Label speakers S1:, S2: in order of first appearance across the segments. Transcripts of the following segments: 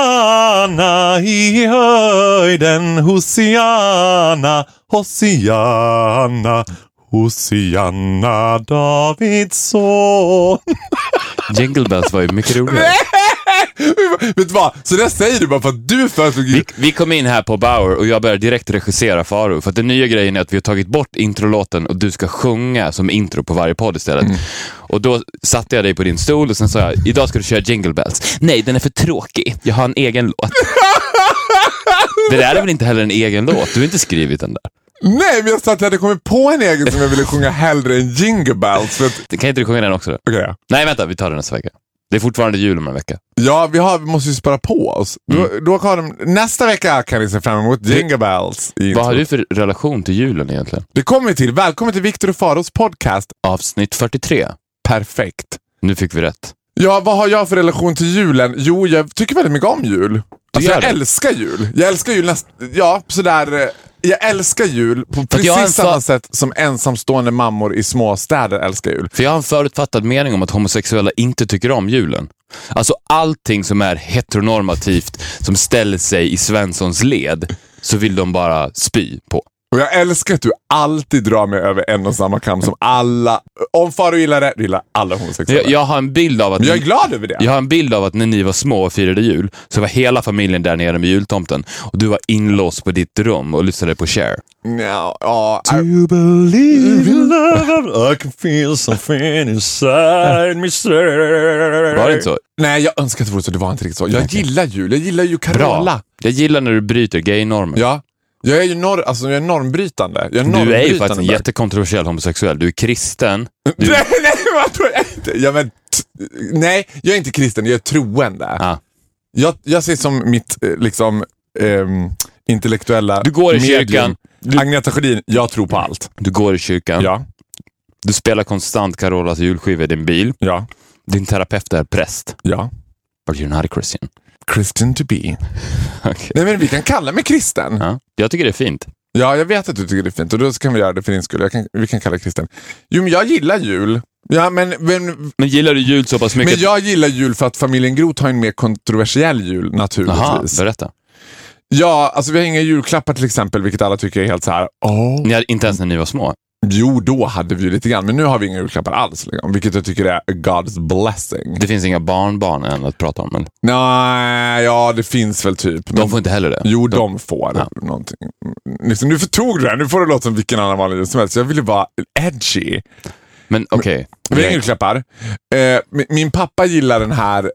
S1: Hosiana i höjden, Hosiana, Hosiana, Hosiana, Davids son.
S2: Jingle Bells var ju mycket roligare.
S3: Vet du vad? Så det säger du bara för att du föreslog
S2: Vi, vi kom in här på Bauer och jag började direkt regissera Faro för att den nya grejen är att vi har tagit bort introlåten och du ska sjunga som intro på varje podd istället. Och då satte jag dig på din stol och sen sa jag, idag ska du köra Jingle Bells. Nej, den är för tråkig. Jag har en egen låt. Det där är väl inte heller en egen låt? Du har inte skrivit den där.
S3: Nej, men jag sa att jag hade kommit på en egen som jag ville sjunga hellre än Jingle Bells. För att...
S2: Kan inte du sjunga den också? Då?
S3: Okej, ja.
S2: Nej, vänta, vi tar den nästa vecka. Det är fortfarande jul om en vecka.
S3: ja vi, har, vi måste ju spara på oss.
S1: Mm.
S3: Då, då har de, nästa vecka kan ni se fram emot Jingle Bells. i
S2: Vad har
S3: intro.
S2: du för relation till julen egentligen?
S3: Det kommer vi till. Välkommen till Viktor och Faros podcast.
S2: Avsnitt 43.
S3: Perfekt.
S2: Nu fick vi rätt.
S3: Ja, vad har jag för relation till julen? Jo, jag tycker väldigt mycket om jul. Alltså,
S2: gör
S3: jag
S2: det?
S3: älskar jul. Jag älskar jul nästan... Ja, sådär... eh, Jag älskar jul på
S2: att jag har en
S3: precis samma
S2: fa-
S3: sätt som ensamstående mammor i småstäder älskar jul.
S2: För jag har en förutfattad mening om att homosexuella inte tycker om julen. Alltså allting som är heteronormativt, som ställer sig i Svenssons led, så vill de bara spy på.
S3: Och jag älskar att du alltid drar mig över en och samma kam som alla... Om Faro gillar det, då gillar alla homosexuella.
S2: Jag, jag har en bild av att...
S3: Men jag är
S2: ni-
S3: glad över det.
S2: jag har en bild av att när ni var små och firade jul, så var hela familjen där nere med jultomten och du var inlåst på ditt rum och lyssnade på Cher.
S3: Ja, ja,
S1: Do you believe in love? I can feel something inside me. sir.
S2: Var det inte så?
S3: nej, jag önskar att det vore så. Det var inte riktigt så. Jag gillar jul. Jag gillar ju Carola.
S2: Bra. Jag gillar när du bryter gaynormer.
S3: Ja. Jag är ju norr, alltså, jag är normbrytande. Jag är
S2: Du är ju
S3: normbrytande.
S2: faktiskt en jättekontroversiell homosexuell. Du är kristen. Du-
S3: Nej, nej, vad tror jag inte. Ja, men, t- nej, jag är inte kristen, jag är troende.
S2: Ja.
S3: Jag, jag ser som mitt eh, liksom, ehm, intellektuella
S2: Du går i kyrkan.
S3: Agneta Sjödin, jag tror på allt.
S2: Du går i kyrkan.
S3: Ja,
S2: Du spelar konstant Carolas julskiva i din bil.
S3: ja,
S2: Din terapeut är präst.
S3: ja.
S2: But you're not a Christian.
S3: Christian to be.
S2: Okej.
S3: Nej, men vi kan kalla mig kristen.
S2: Ja. Jag tycker det är fint.
S3: Ja, jag vet att du tycker det är fint och då kan vi göra det för din skull. Jag kan, vi kan kalla det kristen. Jo, men jag gillar jul. Ja, men, men,
S2: Men gillar du jul så pass mycket?
S3: men jag gillar jul för att familjen Groth har en mer kontroversiell jul naturligtvis.
S2: Aha, berätta.
S3: Ja, alltså vi har inga julklappar till exempel, vilket alla tycker är helt så här. "Åh."
S2: Ni hade, inte ens när ni var små.
S3: Jo, då hade vi ju lite grann, men nu har vi inga julklappar alls. Liksom, vilket jag tycker är God's blessing.
S2: Det finns inga barnbarn än att prata om. Men
S3: Nej, ja det finns väl typ.
S2: de får inte heller det.
S3: Jo, de får någonting. Mm, Liksom, nu förtog du det här. Nu får det låta som vilken annan vanlig jul som helst. Jag ville vara edgy.
S2: Men okej.
S3: Vi har inga julklappar. Eh, min- min pappa gillar den här eh,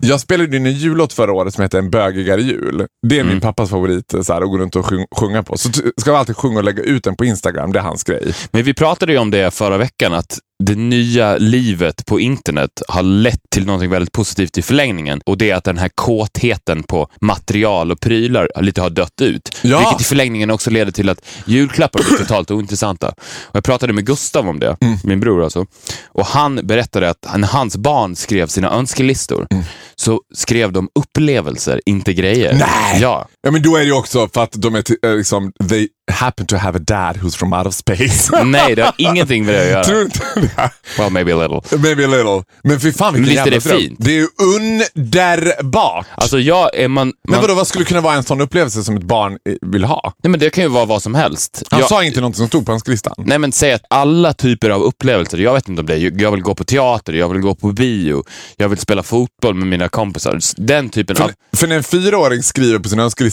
S3: jag spelade in en jullåt förra året som heter En bögigare jul. Det är min
S2: Mm.
S3: pappas favorit eh, så här, att gå runt och sjung- sjunga på. Så t- ska vi alltid sjunga och lägga ut den på Instagram. Det är hans grej.
S2: Men vi pratade ju om det förra veckan, att det nya livet på internet har lett till något väldigt positivt i förlängningen och det är att den här kåtheten på material och prylar lite har dött ut.
S3: Ja.
S2: Vilket i förlängningen också leder till att julklappar blir totalt ointressanta. Och jag pratade med Gustav om det,
S3: Mm.
S2: min bror alltså, och han berättade att när hans barn skrev sina önskelistor
S3: Mm.
S2: så skrev de upplevelser, inte grejer.
S3: Nej.
S2: Ja.
S3: Ja men då är det ju också för att de är ti- eh, liksom, they happen to have a dad who's from out of space.
S2: Nej, det har ingenting med det att göra.
S3: Tror du inte det?
S2: Well, maybe a little.
S3: Maybe a little. Men fy fan vilken
S2: Visst är
S3: jävla
S2: det
S3: dröm.
S2: fint?
S3: Det är ju underbart.
S2: Alltså, jag är man...
S3: men
S2: man
S3: vadå, vad skulle kunna vara en sån upplevelse som ett barn eh, vill ha?
S2: Nej, men det kan ju vara vad som helst.
S3: Han
S2: Jag-
S3: sa inte något som stod på önskelistan.
S2: Nej, men säg att alla typer av upplevelser, jag vet inte om det är, jag vill gå på teater, jag vill gå på bio, jag vill spela fotboll med mina kompisar. Den typen av...
S3: För, för när en fyraåring skriver på sin önskelista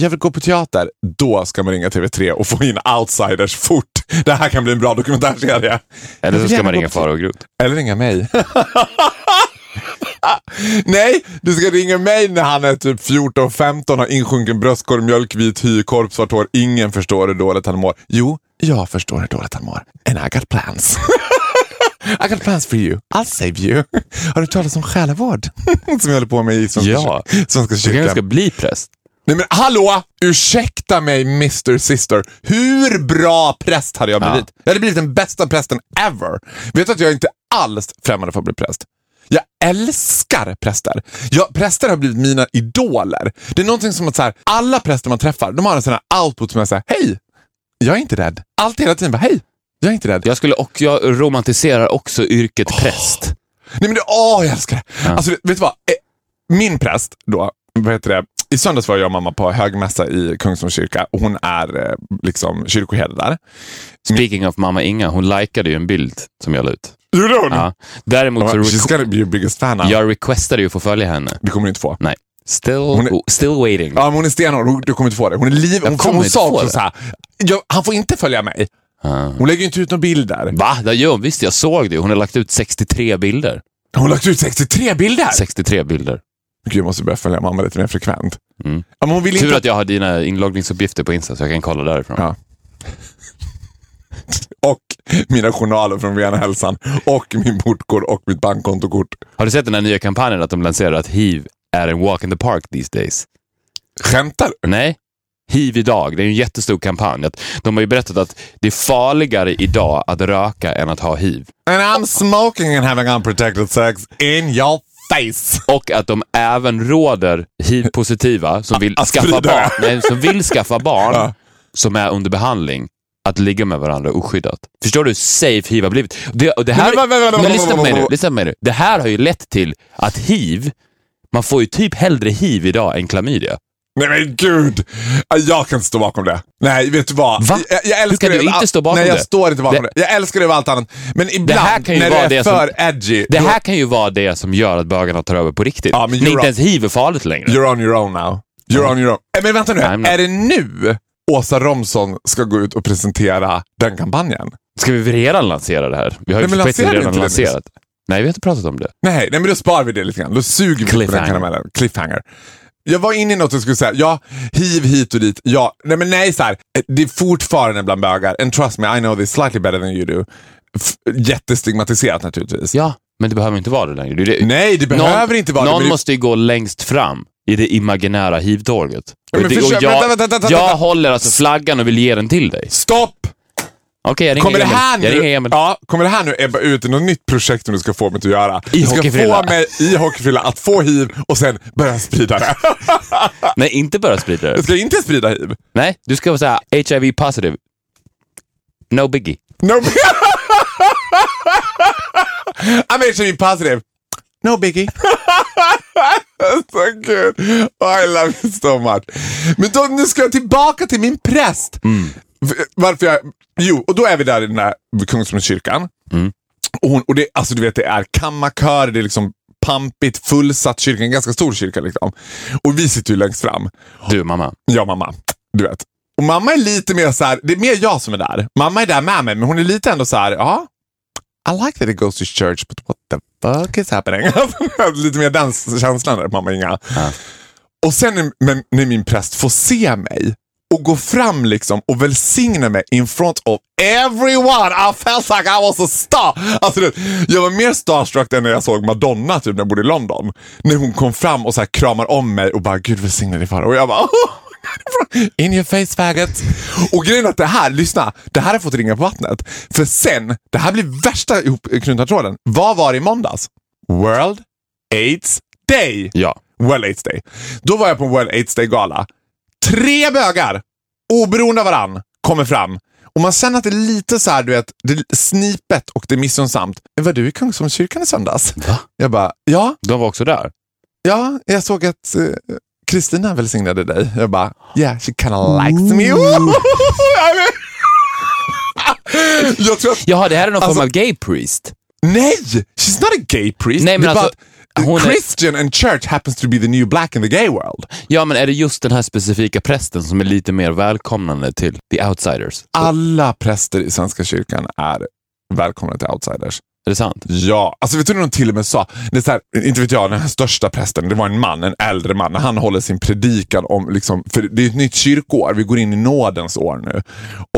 S3: jag vill gå på teater. Då ska man ringa TV3 och få in outsiders fort. Det här kan bli en bra dokumentärserie.
S2: Eller så
S3: vill
S2: ska
S3: gärna
S2: man
S3: gå
S2: ringa
S3: på-
S2: Farao Groth.
S3: Eller ringa mig. Nej, du ska ringa mig när han är typ 14-15, har insjunken bröstkorg, mjölkvit hy, korpsvart hår. Ingen förstår hur dåligt han mår. Jo, jag förstår hur dåligt han mår. And I got plans. I got plans for you. I'll save you. Har du talat om själavård? Som jag håller på med i Svenska,
S2: Ja.
S3: kyr- Svenska
S2: Du
S3: kyrkan.
S2: kanske ska bli präst?
S3: Nej men hallå! Ursäkta mig Mr Sister. Hur bra präst hade jag blivit? Jag hade blivit den bästa prästen ever. Vet du att jag inte alls främmande för att bli präst? Jag älskar präster. Jag, präster har blivit mina idoler. Det är någonting som att så här, alla präster man träffar, de har en sån här output som är såhär, hej, jag är inte rädd. Allt hela tiden bara, hej, jag är inte rädd.
S2: Jag, skulle och, jag romantiserar också yrket präst.
S3: Nej men det, åh jag älskar det. Alltså vet du vad? Eh, min präst då, vad heter det? I söndags var jag och mamma på högmässa i Kungsholms kyrka och hon är eh, liksom kyrkoherde där. mm.
S2: Speaking of mamma Inga, hon likade ju en bild som jag la ut.
S3: Gjorde hon?
S2: Ja. Däremot så
S3: She's
S2: requ-
S3: gonna be your biggest fan. Anna.
S2: jag requestade ju att få följa henne.
S3: Du kommer du inte få.
S2: Nej. Still,
S3: Hon är-
S2: still waiting.
S3: Ja, men hon är stenhård. Hon- Du kommer inte få det. Hon är liv. Hon,
S2: kommer
S3: hon
S2: inte
S3: sa
S2: få
S3: också
S2: det.
S3: så här, "Jag- han får inte följa mig.
S2: Ja.
S3: Hon lägger ju inte ut några bilder.
S2: Va? Det gör hon visst, jag såg det ju. Hon har lagt ut 63 bilder.
S3: Hon har lagt ut 63 bilder.
S2: 63 bilder.
S3: Gud, jag måste börja följa mamma lite mer frekvent.
S2: Mm.
S3: Ja, men hon vill
S2: Tur
S3: inte...
S2: att jag har dina inloggningsuppgifter på Insta så jag kan kolla därifrån.
S3: Ja. Och mina journaler från Vena Hälsan och min portkod och mitt bankkkontokort.
S2: Har du sett den här nya kampanjen att de lanserar att hiv är en walk in the park these days?
S3: Skämtar du?
S2: Nej. Hiv idag, det är en jättestor kampanj. Att de har ju berättat att det är farligare idag att röka än att ha hiv.
S3: And I'm smoking and having unprotected sex in your face.
S2: Och att de även råder hiv-positiva som vill,
S3: Att
S2: skaffa
S3: sprida det.
S2: barn, nej, som vill skaffa barn
S3: Ah, Ja.
S2: som är under behandling att ligga med varandra oskyddat. Förstår du hur safe hiv har blivit? Det, och det här,
S3: Men- men- men- men-
S2: men
S3: men-
S2: lyssna på
S3: men-
S2: mig nu,
S3: men-
S2: lyssna på mig nu. Det här har ju lett till att hiv, man får ju typ hellre hiv idag än klamydia.
S3: Nej men gud! Jag kan inte stå bakom det. Nej, vet du vad?
S2: Va?
S3: Jag, jag älskar
S2: Hur kan
S3: det
S2: du
S3: över
S2: inte
S3: allt-
S2: stå bakom
S3: Nej, jag
S2: det?
S3: står inte bakom det.
S2: Det-
S3: Jag älskar det över allt annat. Men ibland
S2: här kan ju
S3: när
S2: vara
S3: det är
S2: det som-
S3: för edgy,
S2: Det här kan ju vara det som gör att bögarna tar över på riktigt.
S3: Ja, men
S2: När
S3: you're
S2: inte
S3: up.
S2: ens hiv är farligt längre.
S3: You're on your own now. You're on your own. Eh, Men vänta nu,
S2: Nej, men-
S3: är det nu Åsa Romson ska gå ut och presentera den kampanjen?
S2: Ska vi redan lansera det här? Vi har ju
S3: Nej, men
S2: på ett sätt
S3: lanserar vi
S2: redan
S3: inte det nyss?
S2: lanserat. Nej, vi har inte pratat om det.
S3: Nej, nej men då sparar vi det lite grann. Då suger vi på den
S2: Cliffhanger.
S3: karamellen. Cliffhanger. Jag var inne i något och skulle säga, ja, hiv hit och dit. Ja, nej men nej så här. Det är fortfarande bland bögar, and trust me, I know this slightly better than you do. F- jättestigmatiserat naturligtvis.
S2: Ja, men det behöver inte vara det längre. Det är det-
S3: Nej, det behöver inte vara det,
S2: Någon
S3: men det.
S2: måste ju gå längst fram i det imaginära hivtåget.
S3: Men
S2: Och det- och
S3: försök-
S2: jag,
S3: vänta, vänta, vänta, vänta.
S2: jag håller alltså flaggan och vill ge den till dig.
S3: Stopp!
S2: Okej, jag ringer
S3: Kommer det,
S2: Emil.
S3: här
S2: jag ringer
S3: nu,
S2: Emil.
S3: ja, kommer det här nu ebba ut i något nytt projekt som du ska få mig att göra?
S2: I
S3: du ska
S2: hockeyfrilla.
S3: få mig i hockeyfrilla att få hiv och sen börja sprida det.
S2: Nej, inte börja sprida det.
S3: Jag ska inte sprida hiv.
S2: Nej, du ska vara såhär HIV positive. No biggie.
S3: No I'm HIV positive. No biggie. så kul. Oh, I love you so much. Men då, nu ska jag tillbaka till min präst. V- Varför jag... Jo, och då är vi där i den där Kungsholmskyrkan. Och, hon, och det, alltså du vet, det är kammarkör, det är liksom pampigt, fullsatt kyrka, en ganska stor kyrka liksom. Och vi sitter ju längst fram.
S2: Du mamma,
S3: Ja, mamma. Du vet. Och mamma är lite mer så här, det är mer jag som är där. Mamma är där med mig, men hon är lite ändå så här, ja. I like that it goes to church, but what the fuck is happening? Alltså, lite mer den känslan där, mamma Inga.
S2: Ja.
S3: Och sen när, men- när min präst får se mig och gå fram liksom och välsigna mig in front of everyone. I felt like I was a star. Alltså, du vet, jag var mer starstruck än när jag såg Madonna typ, när jag bodde i London. När hon kom fram och så här kramar om mig och bara, Gud välsigne dig far. Och jag bara, In your face faggot. Och grejen är att det här, lyssna, det här har fått ringa på vattnet. För sen, det här blir värsta ihopknutna tråden. Vad var det i måndags? World AIDS Day.
S2: ja.
S3: World AIDS Day. Då var jag på en World AIDS Day-gala. Tre bögar, oberoende av varann, kommer fram. Och man känner att det är lite så här, du vet, det är snipet och det är missunnsamt. Var du i Kungsholmskyrkan i söndags?
S2: Va?
S3: Jag bara, ja,
S2: De var också där.
S3: ja, jag såg att eh, Kristina välsignade dig. Jag bara, yeah, she kinda likes me.
S2: Mm.
S3: jag tror att,
S2: Jaha, det här är någon
S3: Alltså-
S2: form av gay priest.
S3: nej, she's not a gay priest.
S2: Nej, men
S3: Det är bara
S2: alltså,
S3: att
S2: hon är-
S3: Christian and church happens to be the new black in the gay world.
S2: Ja, men är det just den här specifika prästen som är lite mer välkomnande till the outsiders?
S3: alla präster i Svenska kyrkan är välkomna till outsiders.
S2: Är det sant?
S3: Ja, alltså vet du när de till och med sa, det är så här, inte vet jag, den här största prästen, det var en man, en äldre man, när han håller sin predikan om, liksom, för det är ett nytt kyrkoår, vi går in i nådens år nu.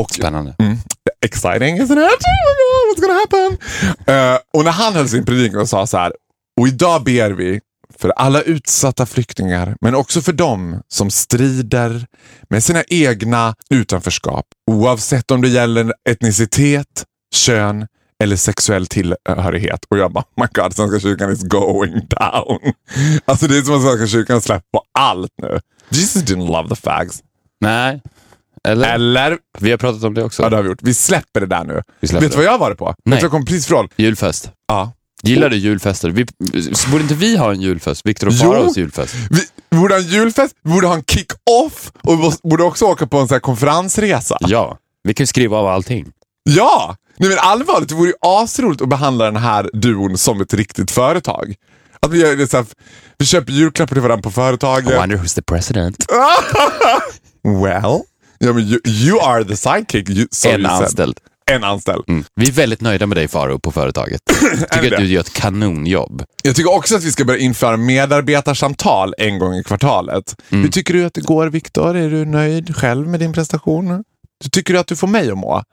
S3: Och
S2: Spännande.
S3: exciting isn't it? Oh my God, what's gonna happen? Eh, och när han höll sin predikan och sa så här, och idag ber vi för alla utsatta flyktingar, men också för dem som strider med sina egna utanförskap, oavsett om det gäller etnicitet, kön eller sexuell tillhörighet. Och jag bara, oh my god, Svenska kyrkan is going down. Alltså det är som att Svenska kyrkan släpper på allt nu. Jesus didn't love the fags.
S2: Nej. Eller?
S3: Eller?
S2: Vi har pratat om det också.
S3: Ja, det har vi gjort. Vi släpper det där nu.
S2: Vi släpper
S3: Vet du vad jag har varit på? Vet du vad jag kom precis från?
S2: Julfest.
S3: Ja.
S2: Gillar du julfester? Vi, borde inte vi ha en julfest? Viktor och
S3: Jo.
S2: Faraos julfest.
S3: Vi borde ha en julfest, vi borde ha en kick-off och vi borde också åka på en sån här konferensresa.
S2: Ja, vi kan ju skriva av allting.
S3: Ja! Nej men allvarligt, det vore ju asroligt att behandla den här duon som ett riktigt företag. Att vi, gör det så här, vi köper julklappar till varandra på
S2: I
S3: företaget.
S2: wonder who's the president?
S3: Well? Ja, men you, you are the sidekick. You, so
S2: en
S3: you said.
S2: anställd.
S3: En anställd.
S2: Vi är väldigt nöjda med dig Faro på företaget. Tycker
S3: det?
S2: att du gör ett kanonjobb.
S3: Jag tycker också att vi ska börja införa medarbetarsamtal en gång i kvartalet. Hur tycker du att det går Viktor? Är du nöjd själv med din prestation? Hur tycker du att du får mig att må?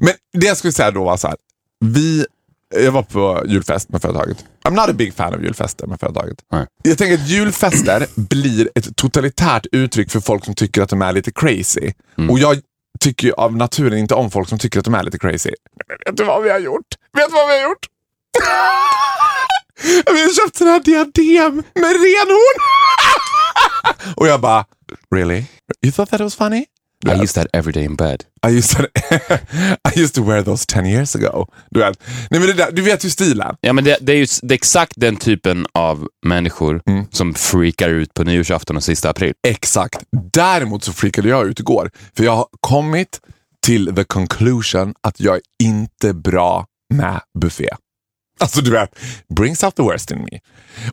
S3: Men det jag skulle säga då var så här. Vi, jag var på julfest med företaget. I'm not a big fan av julfester med företaget.
S2: Nej.
S3: Jag tänker att julfester blir ett totalitärt uttryck för folk som tycker att de är lite crazy. Och jag tycker ju av naturen inte om folk som tycker att de är lite crazy. Men vet du vad vi har gjort? Vet du vad vi har gjort? Vi har köpt sådana här diadem med renhorn. Och jag bara, really? You thought that was funny?
S2: I use that every day in bed.
S3: I used to, I used to wear those 10 years ago. Du vet, Nej, men det där, du vet ju stilen.
S2: Ja, men det, det är ju s- det är exakt den typen av människor
S3: Mm.
S2: som freakar ut på nyårsafton och sista april.
S3: Exakt. Däremot så freakade jag ut igår. För jag har kommit till the conclusion att jag är inte bra med buffé. Alltså du vet, brings out the worst in me.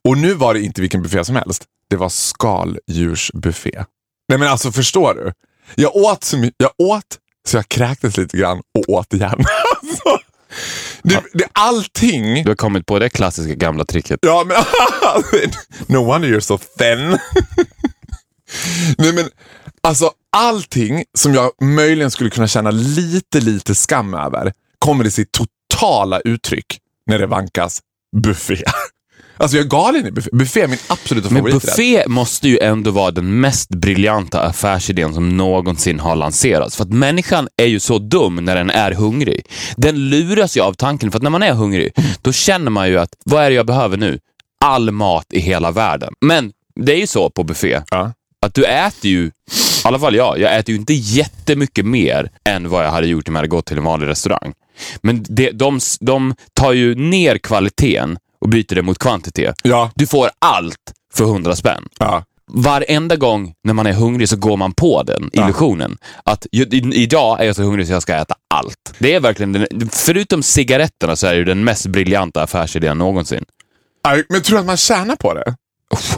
S3: Och nu var det inte vilken buffé som helst. Det var skaldjursbuffé. Nej men alltså förstår du? Jag åt så mycket, jag åt så jag kräktes lite grann och åt igen. alltså, det, det, allting
S2: Du har kommit på det klassiska gamla tricket.
S3: Ja, men no wonder you're so thin. Nej, men alltså allting som jag möjligen skulle kunna känna lite, lite skam över kommer i sitt totala uttryck när det vankas buffé. Alltså jag är galen i buffé. Buffé är min absoluta
S2: Men
S3: favoriträtt.
S2: buffé måste ju ändå vara den mest briljanta affärsidén som någonsin har lanserats. För att människan är ju så dum när den är hungrig. Den luras ju av tanken, för att när man är hungrig, då känner man ju att vad är det jag behöver nu? All mat i hela världen. Men det är ju så på buffé,
S3: Ja.
S2: att du äter ju, i alla fall jag, jag äter ju inte jättemycket mer än vad jag hade gjort om jag hade gått till en vanlig restaurang. Men det, de, de tar ju ner kvaliteten och byter det mot kvantitet.
S3: Ja,
S2: Du får allt för 100 spänn.
S3: ja.
S2: Varenda gång när man är hungrig så går man på den illusionen. Att ju- i- idag är jag så hungrig så jag ska äta allt. Det är verkligen, den, förutom cigaretterna så är det ju den mest briljanta affärsidén någonsin.
S3: Aj, Men tror du att man tjänar på det?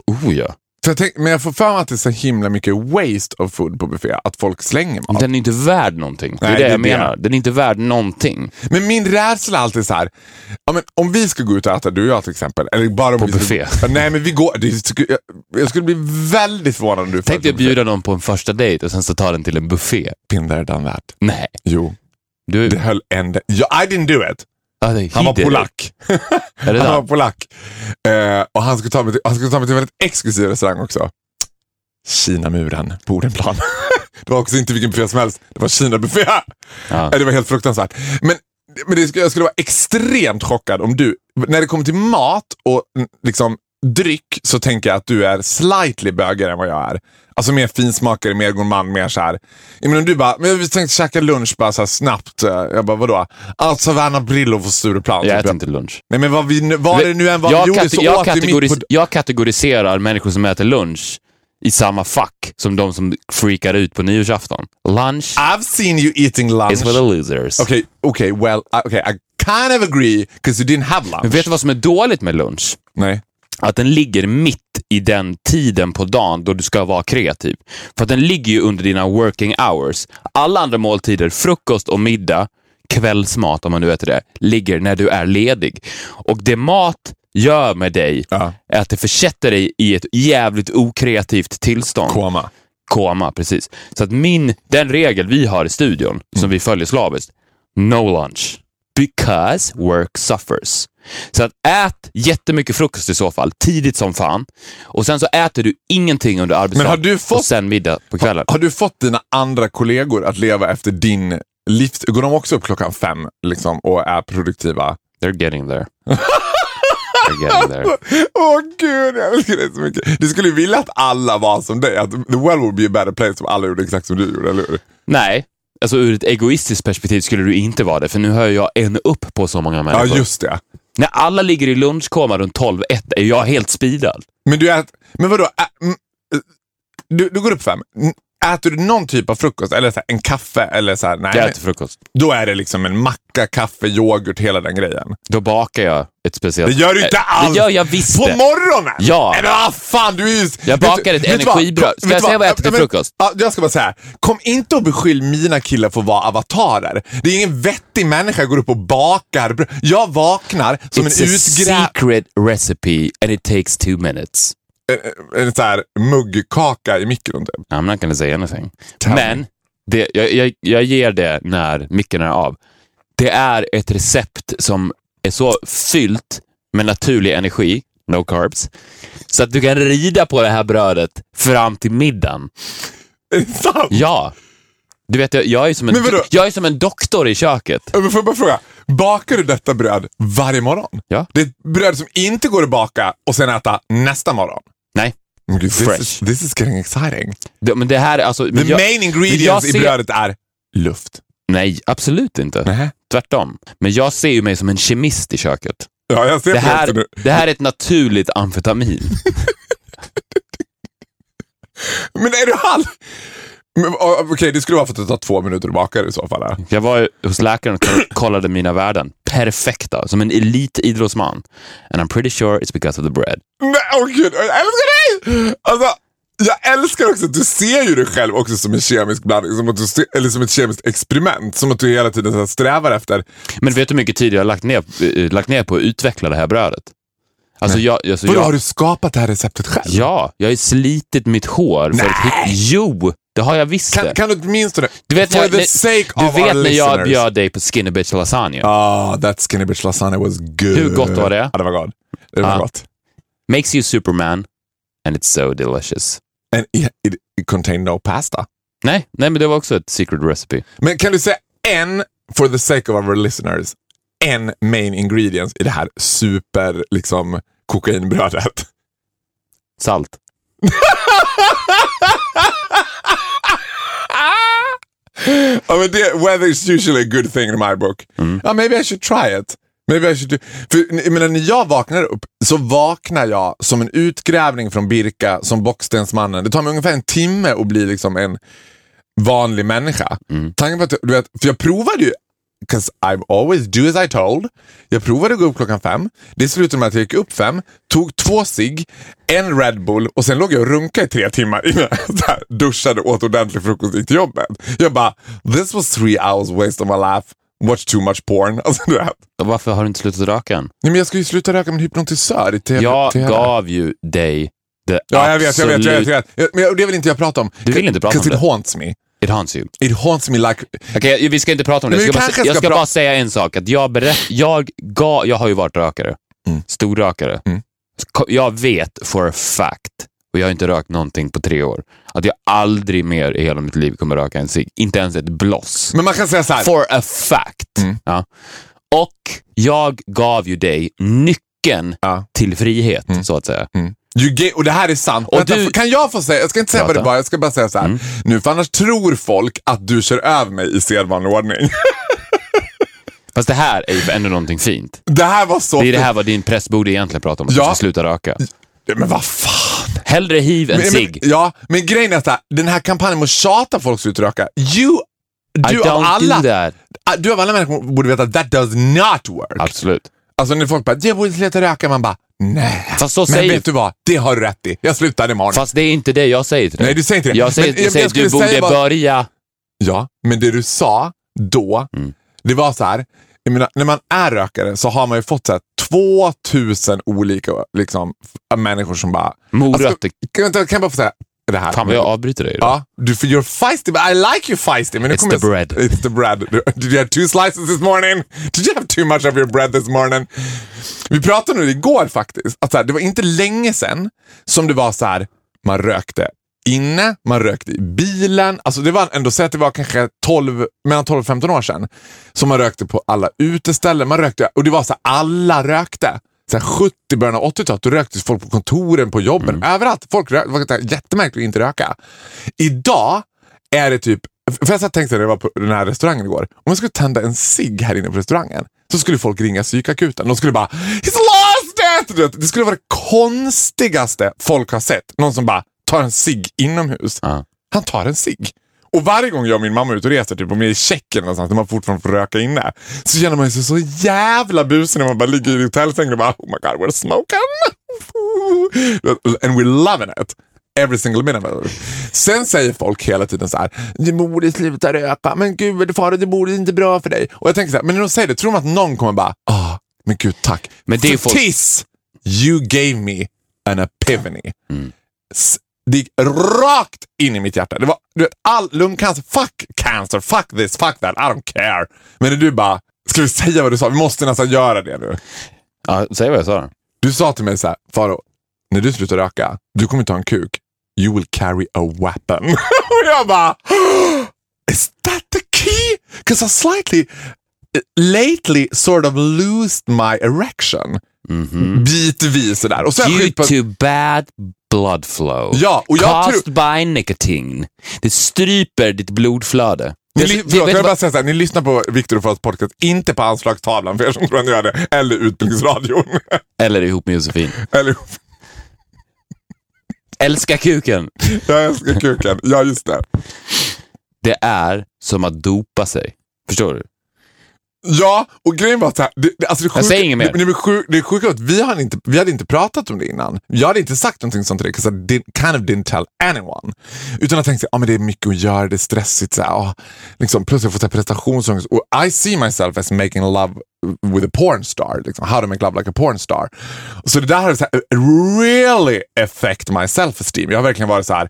S2: Oh ja.
S3: För jag tänk, men jag får för mig att det är så himla mycket waste of food på buffé. Att folk slänger mat.
S2: Den är inte värd någonting. Det är
S3: Nej,
S2: det
S3: det är
S2: jag
S3: det.
S2: menar. Den är inte värd någonting.
S3: Men min rädsla är alltid så här. Ja, men om vi ska gå ut och äta, du och jag till exempel. Eller bara om
S2: På
S3: vi ska-
S2: buffé.
S3: Ja, nej, men vi går. Det, skulle- jag, jag skulle bli väldigt förvånad om du
S2: Tänk dig att bjuda någon på en första dejt och sen så ta den till en buffé.
S3: Pinder done that.
S2: Nej.
S3: Jo,
S2: Du,
S3: det höll ända... Ja, I didn't do it.
S2: Ja, det är
S3: Han var
S2: Hideri.
S3: polack.
S2: Är det
S3: Han var
S2: där?
S3: polack. Eh, och han skulle, ta mig till, han skulle ta mig till en väldigt exklusiv restaurang också. Kinamuren, Bodenplan. det var också inte vilken buffé som helst. Det var Kinabuffé.
S2: Ja.
S3: Eh, Det var helt fruktansvärt. Men, men det, skulle- jag skulle vara extremt chockad om du, när det kommer till mat och mm, liksom dryck så tänker jag att du är slightly bögigare än vad jag är. Alltså mer finsmakare, mer gourmand, mer så här. Jag menar, om du bara, men vi tänkte käka lunch bara så här snabbt. eh, Jag bara, vadå? Alltså Verna Brillo på Stureplan.
S2: Jag
S3: typ.
S2: äter inte lunch.
S3: Nej men vad, vi, nu- vad det nu än var vi gjorde
S2: kate-
S3: så
S2: jag,
S3: åt vi
S2: kategoris-
S3: mitt på...
S2: jag kategoriserar människor som äter lunch i samma fack som de som freakar ut på nyårsafton. Lunch
S3: I've seen you eating Ah, lunch.
S2: is for the
S3: Okej,
S2: losers.
S3: okej, well, I- okay, I kind of agree, because you didn't have lunch.
S2: Men vet du vad som är dåligt med lunch?
S3: Nej.
S2: Att den ligger mitt i den tiden på dagen då du ska vara kreativ. För att den ligger ju under dina working hours. Alla andra måltider, frukost och middag, kvällsmat om man nu äter det, ligger när du är ledig. Och det mat gör med dig
S3: Ja.
S2: är att det försätter dig i ett jävligt okreativt tillstånd.
S3: Koma.
S2: koma, precis. Så att min, den regel vi har i studion,
S3: Mm.
S2: som vi följer slaviskt, no lunch. Because work suffers. Så att ät jättemycket frukost i så fall, tidigt som fan. Och sen så äter du ingenting under arbetsdagen.
S3: Men har du fått-
S2: Och sen middag på kvällen.
S3: Har du fått dina andra kollegor att leva efter din livs... Går de också upp klockan fem liksom, och är produktiva?
S2: They're getting there. They're getting there.
S3: Åh gud, jag älskar dig så mycket. Du skulle ju vilja att alla var som dig. Att the world would be a better place om alla gjorde exakt som du gjorde, eller hur?
S2: Nej, alltså ur ett egoistiskt perspektiv skulle du inte vara det, för nu hör jag en upp på så många
S3: Ja,
S2: människor.
S3: just det.
S2: När alla ligger i lunchkoma runt 12, 1 är jag helt speedad.
S3: Men du äter, men vadå? Ä, mm, eh, du, du går upp fem. Mm, Äter du någon typ av frukost? Eller så här, en kaffe? Eller så här, nej,
S2: Jag
S3: men-
S2: äter frukost.
S3: Då är det liksom en macka, kaffe, yoghurt, hela den grejen.
S2: Då bakar jag ett speciellt...
S3: Det gör du inte
S2: Eh,
S3: alls!
S2: Det gör jag visst
S3: På
S2: det.
S3: morgonen?
S2: Ja.
S3: Nej, men vad fan, du är ju...
S2: Jag
S3: Vet
S2: bakar
S3: du-
S2: ett
S3: vet du vad?
S2: energibröd. Ska
S3: Vet
S2: jag
S3: du
S2: säga vad jag äter till
S3: Men-
S2: frukost?
S3: Ja, jag ska bara säga, kom inte och beskyll mina killar för att vara avatarer. Det är ingen vettig människa som går upp och bakar bröd. Jag vaknar som
S2: It's
S3: en
S2: a
S3: utgrävd
S2: secret recipe and it takes two minutes.
S3: eh, en så här muggkaka i mikron typ.
S2: I'm not gonna say anything.
S3: Tell
S2: Men det, jag, jag, jag ger det när micken är av. Det är ett recept som är så fyllt med naturlig energi, no carbs, så att du kan rida på det här brödet fram till middagen.
S3: Är det sant?
S2: Ja. Du vet, jag, jag, är, som en,
S3: Men vadå?
S2: jag är som en doktor i köket.
S3: Äh, Men får jag bara fråga, bakar du detta bröd varje morgon?
S2: Ja.
S3: Det är ett bröd som inte går att baka och sen äta nästa morgon?
S2: Nej.
S3: Men gud, This
S2: Fresh.
S3: is, this is getting exciting.
S2: Det, men det här, är alltså...
S3: The
S2: men jag,
S3: main
S2: men jag
S3: ingredients
S2: ser-
S3: i brödet är luft.
S2: nej, absolut inte.
S3: Nej.
S2: Tvärtom. Men jag ser ju mig som en kemist i köket.
S3: Ja, jag ser
S2: Det
S3: det här...
S2: här,
S3: nu.
S2: det här är ett naturligt amfetamin.
S3: Men är du all... Men, oh, Okej, det skulle vara för att det tar två minuter att baka det i så fall. ja.
S2: Jag var hos läkaren och kollade mina värden. Perfekta, som en elitidrottsman. And I'm pretty sure it's because of the bread.
S3: Nej, åh gud, jag älskar dig! Alltså, jag älskar också att du ser ju dig själv också som en kemisk blandning, som att du ser, eller som ett kemiskt experiment. Som att du hela tiden så här strävar efter
S2: Men vet du hur mycket tid jag har lagt ner, eh, lagt ner på att utveckla det här brödet? Alltså jag, alltså
S3: Vadå, har
S2: jag,
S3: du skapat det här receptet själv?
S2: ja, jag har ju slitit mitt hår för att hitta... Jo, det har jag visst
S3: Kan,
S2: det.
S3: kan du åtminstone,
S2: Du vet,
S3: for
S2: jag,
S3: the
S2: när-
S3: sake
S2: du
S3: of our
S2: vet när jag
S3: listeners.
S2: bjöd dig på Skinny Bitch Lasagne.
S3: Ah, that skinny bitch lasagna was good.
S2: Hur gott var det?
S3: Ja, det var gott. Det var
S2: Ah.
S3: gott.
S2: Makes you Superman and it's so delicious.
S3: And it, it, it contained no pasta.
S2: Nej, nej, men det var också ett secret recipe.
S3: Men kan du säga en, for the sake of our listeners, en main ingredients i det här super, liksom, kokainbrödet?
S2: Salt.
S3: Ja, men det, weather is usually a good thing in my book. Ja, maybe I should try it. Maybe I should do... För, jag menar, när jag vaknar upp så vaknar jag som en utgrävning från Birka, som Bockstensmannen. Det tar mig ungefär en timme att bli liksom en vanlig människa. Tanken på att, du vet, för jag provade ju, 'cause I always do as I told. Jag provade att gå upp klockan fem. Det slutade med att jag gick upp fem, tog två cigg, en Red Bull och sen låg jag och runkade i tre timmar innan jag så här duschade, åt ordentlig frukost och gick till jobbet. Jag bara, this was three hours waste of my life. Watch too much porn. Alltså, du vet.
S2: Och varför har du inte slutat röka än?
S3: Nej, men jag ska ju sluta röka med hypnotisör i TV.
S2: Jag
S3: TV.
S2: gav ju dig det
S3: Ja, jag vet, jag vet, jag vet.
S2: absolut-
S3: Jag vet. Jag- Men jag- det vill inte jag prata om.
S2: Du vill inte prata om
S3: Because
S2: det.
S3: it haunts me.
S2: It haunts you.
S3: It haunts me like...
S2: Okej, vi ska inte prata om det.
S3: Men
S2: Jag
S3: vi
S2: ska, bara,
S3: kanske
S2: jag
S3: ska
S2: ska
S3: prata-
S2: bara säga en sak. Att jag, berätt, jag, ga, jag har ju varit rökare. Storrökare.
S3: Mm.
S2: Ko- Jag vet for a fact, och jag har inte rökt någonting på tre år, att jag aldrig mer i hela mitt liv kommer röka en cigg. Inte ens ett bloss.
S3: Men man kan säga så här.
S2: For a fact.
S3: Mm.
S2: Ja. Och jag gav ju dig nyckeln
S3: Ja. Mm.
S2: till frihet, så att säga.
S3: You gay, och det här är sant.
S2: Och
S3: Vänta,
S2: du-
S3: f- Kan jag få säga? Jag ska inte säga vad det
S2: Prata. Mm.
S3: var, jag ska bara säga så här. Nu, för annars tror folk att du kör över mig i sedvanlig ordning.
S2: Fast det här är ju ändå någonting fint.
S3: Det här var så...
S2: Det är det här vad din press borde egentligen prata om, att
S3: Ja.
S2: du ska sluta röka.
S3: Men vad fan?
S2: Hellre hiv än
S3: Men, men,
S2: cigg.
S3: ja, men grejen är att så här, den här kampanjen med att tjata folk slutar röka. You...
S2: I
S3: Du av,
S2: don't
S3: alla, Ah,
S2: do that.
S3: du av alla människor borde veta att that does not
S2: Ah.
S3: work.
S2: Absolut.
S3: Alltså när folk bara, jag borde sluta röka, man bara, nej.
S2: Fast så
S3: men
S2: säger-
S3: vet du vad? Det har du rätt i. Jag slutar imorgon.
S2: Fast det är inte det jag säger till dig.
S3: Nej, du säger inte det.
S2: Jag säger,
S3: Men,
S2: jag säger
S3: jag
S2: att du
S3: skulle
S2: borde
S3: säga bara-
S2: börja.
S3: Ja, men det du sa då,
S2: Mm.
S3: det var så här. Jag menar, när man är rökare så har man ju fått så här, 2000 olika liksom, f- människor som bara...
S2: Morötter.
S3: Alltså, kan, vänta, kan jag bara få säga det här?
S2: Fan vad jag avbryter dig. idag.
S3: Ja, du, för you're feisty, but I like you feisty. Men nu
S2: It's
S3: kommer
S2: the
S3: jag-
S2: bread.
S3: It's the bread. Du- Did you have two slices this morning? Did you have too much of your bread this morning? Vi pratade nu igår faktiskt, att så här, det var inte länge sedan som det var så här, man rökte inne, man rökte i bilen. Alltså det var ändå, säg att det var kanske 12, mellan 12 och 15 år sedan, som man rökte på alla uteställen. Man rökte, och det var så här, alla rökte. Så här 70, början av 80-talet, då röktes folk på kontoren, på jobben,
S2: Mm.
S3: överallt. Folk rökte, det var så här jättemärkligt att inte röka. Idag är det typ, för jag satt och tänkte när jag var på den här restaurangen igår, om jag skulle tända en cigg här inne på restaurangen så skulle folk ringa psykakuten. De skulle bara “He's lost it!” Du vet, Det skulle vara det konstigaste folk har sett. Någon som bara tar en cigg inomhus.
S2: Ja.
S3: Han tar en cigg. Och varje gång jag och min mamma är ute och reser, typ om vi är i Tjeckien någonstans, när man fortfarande får röka inne, så känner man sig så jävla busig när man bara ligger i hotellsängen och bara “Oh my god, we're smoking!” And we're loving it. Every single minute. of it. Sen säger folk hela tiden så här, du borde sluta röka, men gud Farao, det borde inte bra för dig. Och jag tänker så här, men när de säger det, tror de att någon kommer bara, ah, men gud tack.
S2: Men det är
S3: För
S2: folk-
S3: Tiss, you gave me an epiphany.
S2: Mm.
S3: S- Det gick rakt in i mitt hjärta. Det var du vet, all lungcancer, fuck cancer, fuck this, fuck that, I don't care. Men när du bara, ska vi säga vad du sa? Vi måste nästan göra det nu.
S2: Ja, säg vad jag sa då.
S3: Du sa till mig så här, Faro, när du slutar röka, du kommer ta en kuk. You will carry a weapon. Och jag bara, is that the key? Because I slightly, lately sort of loosed my erection. Bitvis sådär. Och sen
S2: Due
S3: skit på...
S2: to bad blood flow.
S3: Ja, och jag
S2: Caused
S3: tror...
S2: by nicotine. Det stryper ditt blodflöde.
S3: Ni,
S2: Jag-
S3: ly-
S2: vet-
S3: förlåt,
S2: vet
S3: jag vill
S2: vad-
S3: bara säga så här, ni lyssnar på Viktor och Faros podcast, inte på Anslagstavlan för er som tror att ni gör det, eller Utbildningsradion.
S2: Eller ihop med Josefin.
S3: eller,
S2: Älska kuken.
S3: jag älskar kuken. Ja, just det.
S2: Det är som att dopa sig. Förstår du?
S3: Ja, och grejen var att så här, det, det, alltså det, sjuka,
S2: Jag säger inget mer.
S3: Det, det, sjuk, det sjuka var att vi hade, inte, vi hade inte pratat om det innan. Jag hade inte sagt någonting sånt till dig, 'cause I did, kind of didn't tell anyone. Utan jag tänkte att ah, men det är mycket att göra, det är stressigt. Så här, ah, liksom, plus jag får så här prestationsångest. Och I see myself as making love with a porn star. Liksom, how to make love like a porn star. Så det där har så här, eh, really affect my self-esteem. Jag har verkligen varit så här,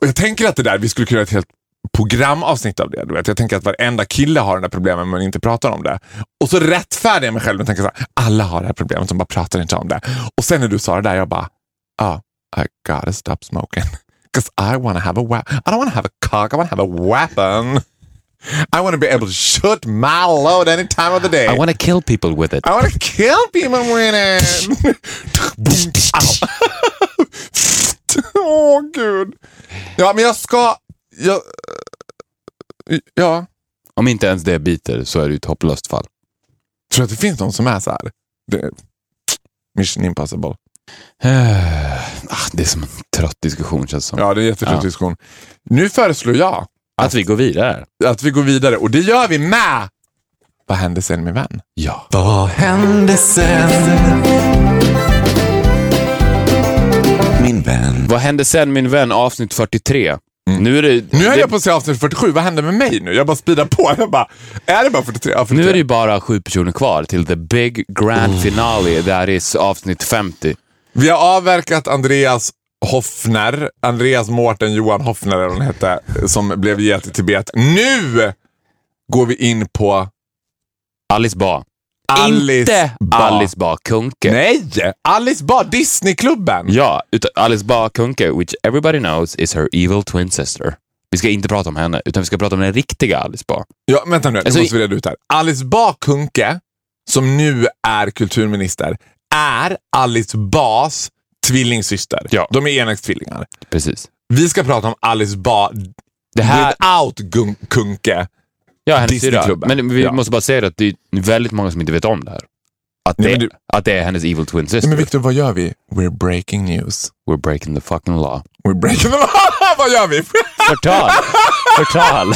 S3: och jag tänker att det där, vi skulle kunna göra ett helt programavsnitt av det. Du vet. Jag tänker att varenda kille har den där problemen men inte pratar om det. Och så rättfärdigar jag mig själv och tänker så här, alla har det här problemet, de bara pratar inte om det. Och sen när du sa det där, jag bara, oh, I gotta stop smoking. Cause I wanna have a weapon. I don't wanna have a cock, I wanna have a weapon. I wanna be able to shoot my load any time of the day.
S2: I wanna kill people with it.
S3: I wanna kill people with it! Ah. Åh gud. Ja men jag ska... Jag, ja.
S2: Om inte ens det biter så är det ju ett hopplöst fall.
S3: Tror du att det finns någon som är så här? Det, mission impossible.
S2: Eh, ah, det är som en trött diskussion känns det som.
S3: Ja det är en jättetrött
S2: Ja.
S3: diskussion. Nu föreslår jag
S2: Att vi går vidare.
S3: att vi går vidare och det gör vi med... Vad hände sen min vän?
S2: Ja.
S3: Vad hände sen?
S4: Min vän.
S2: Vad hände sen min vän avsnitt 43? Nu är det...
S3: Mm. Nu höll
S2: det-
S3: jag på att säga avsnitt 47, vad hände med mig nu? Jag bara speedar på. Jag bara, är det bara 43? Ja, 43.
S2: Nu är det ju bara sju personer kvar till the big
S3: Oh.
S2: grand finale. Där är avsnitt 50.
S3: Vi har avverkat Andreas Hoffner, Andreas Mårten Johan Hoffner eller vad han hette, som blev get i Tibet. Nu går vi in på
S2: Alice Ba.
S3: Alice
S2: inte
S3: Ba.
S2: Alice Ba Kuhnke.
S3: Nej! Alice Bah, Disneyklubben.
S2: Ja, utan Alice Bah Kuhnke, which everybody knows is her evil twin sister. Vi ska inte prata om henne, utan vi ska prata om den riktiga Alice Bah.
S3: Ja, vänta nu, nu
S2: Alltså,
S3: måste vi reda ut här. Alice Bah Kuhnke, som nu är kulturminister, är Alice Bahs tvillingsyster.
S2: Ja.
S3: De är enäggstvillingar.
S2: Precis.
S3: Vi ska prata om Alice Bah
S2: Det här...
S3: without Gun- Kuhnke.
S2: Ja, hennes syra.
S3: Disneyklubben.
S2: Men vi
S3: Ja.
S2: måste bara säga det att det är väldigt många som inte vet om det här. Att det,
S3: Nej, men
S2: att det är hennes evil twin sister.
S3: Men Victor, vad gör vi? We're breaking news.
S2: We're breaking the fucking law.
S3: We're breaking the law. Vad gör vi?
S2: Förtal! Förtal!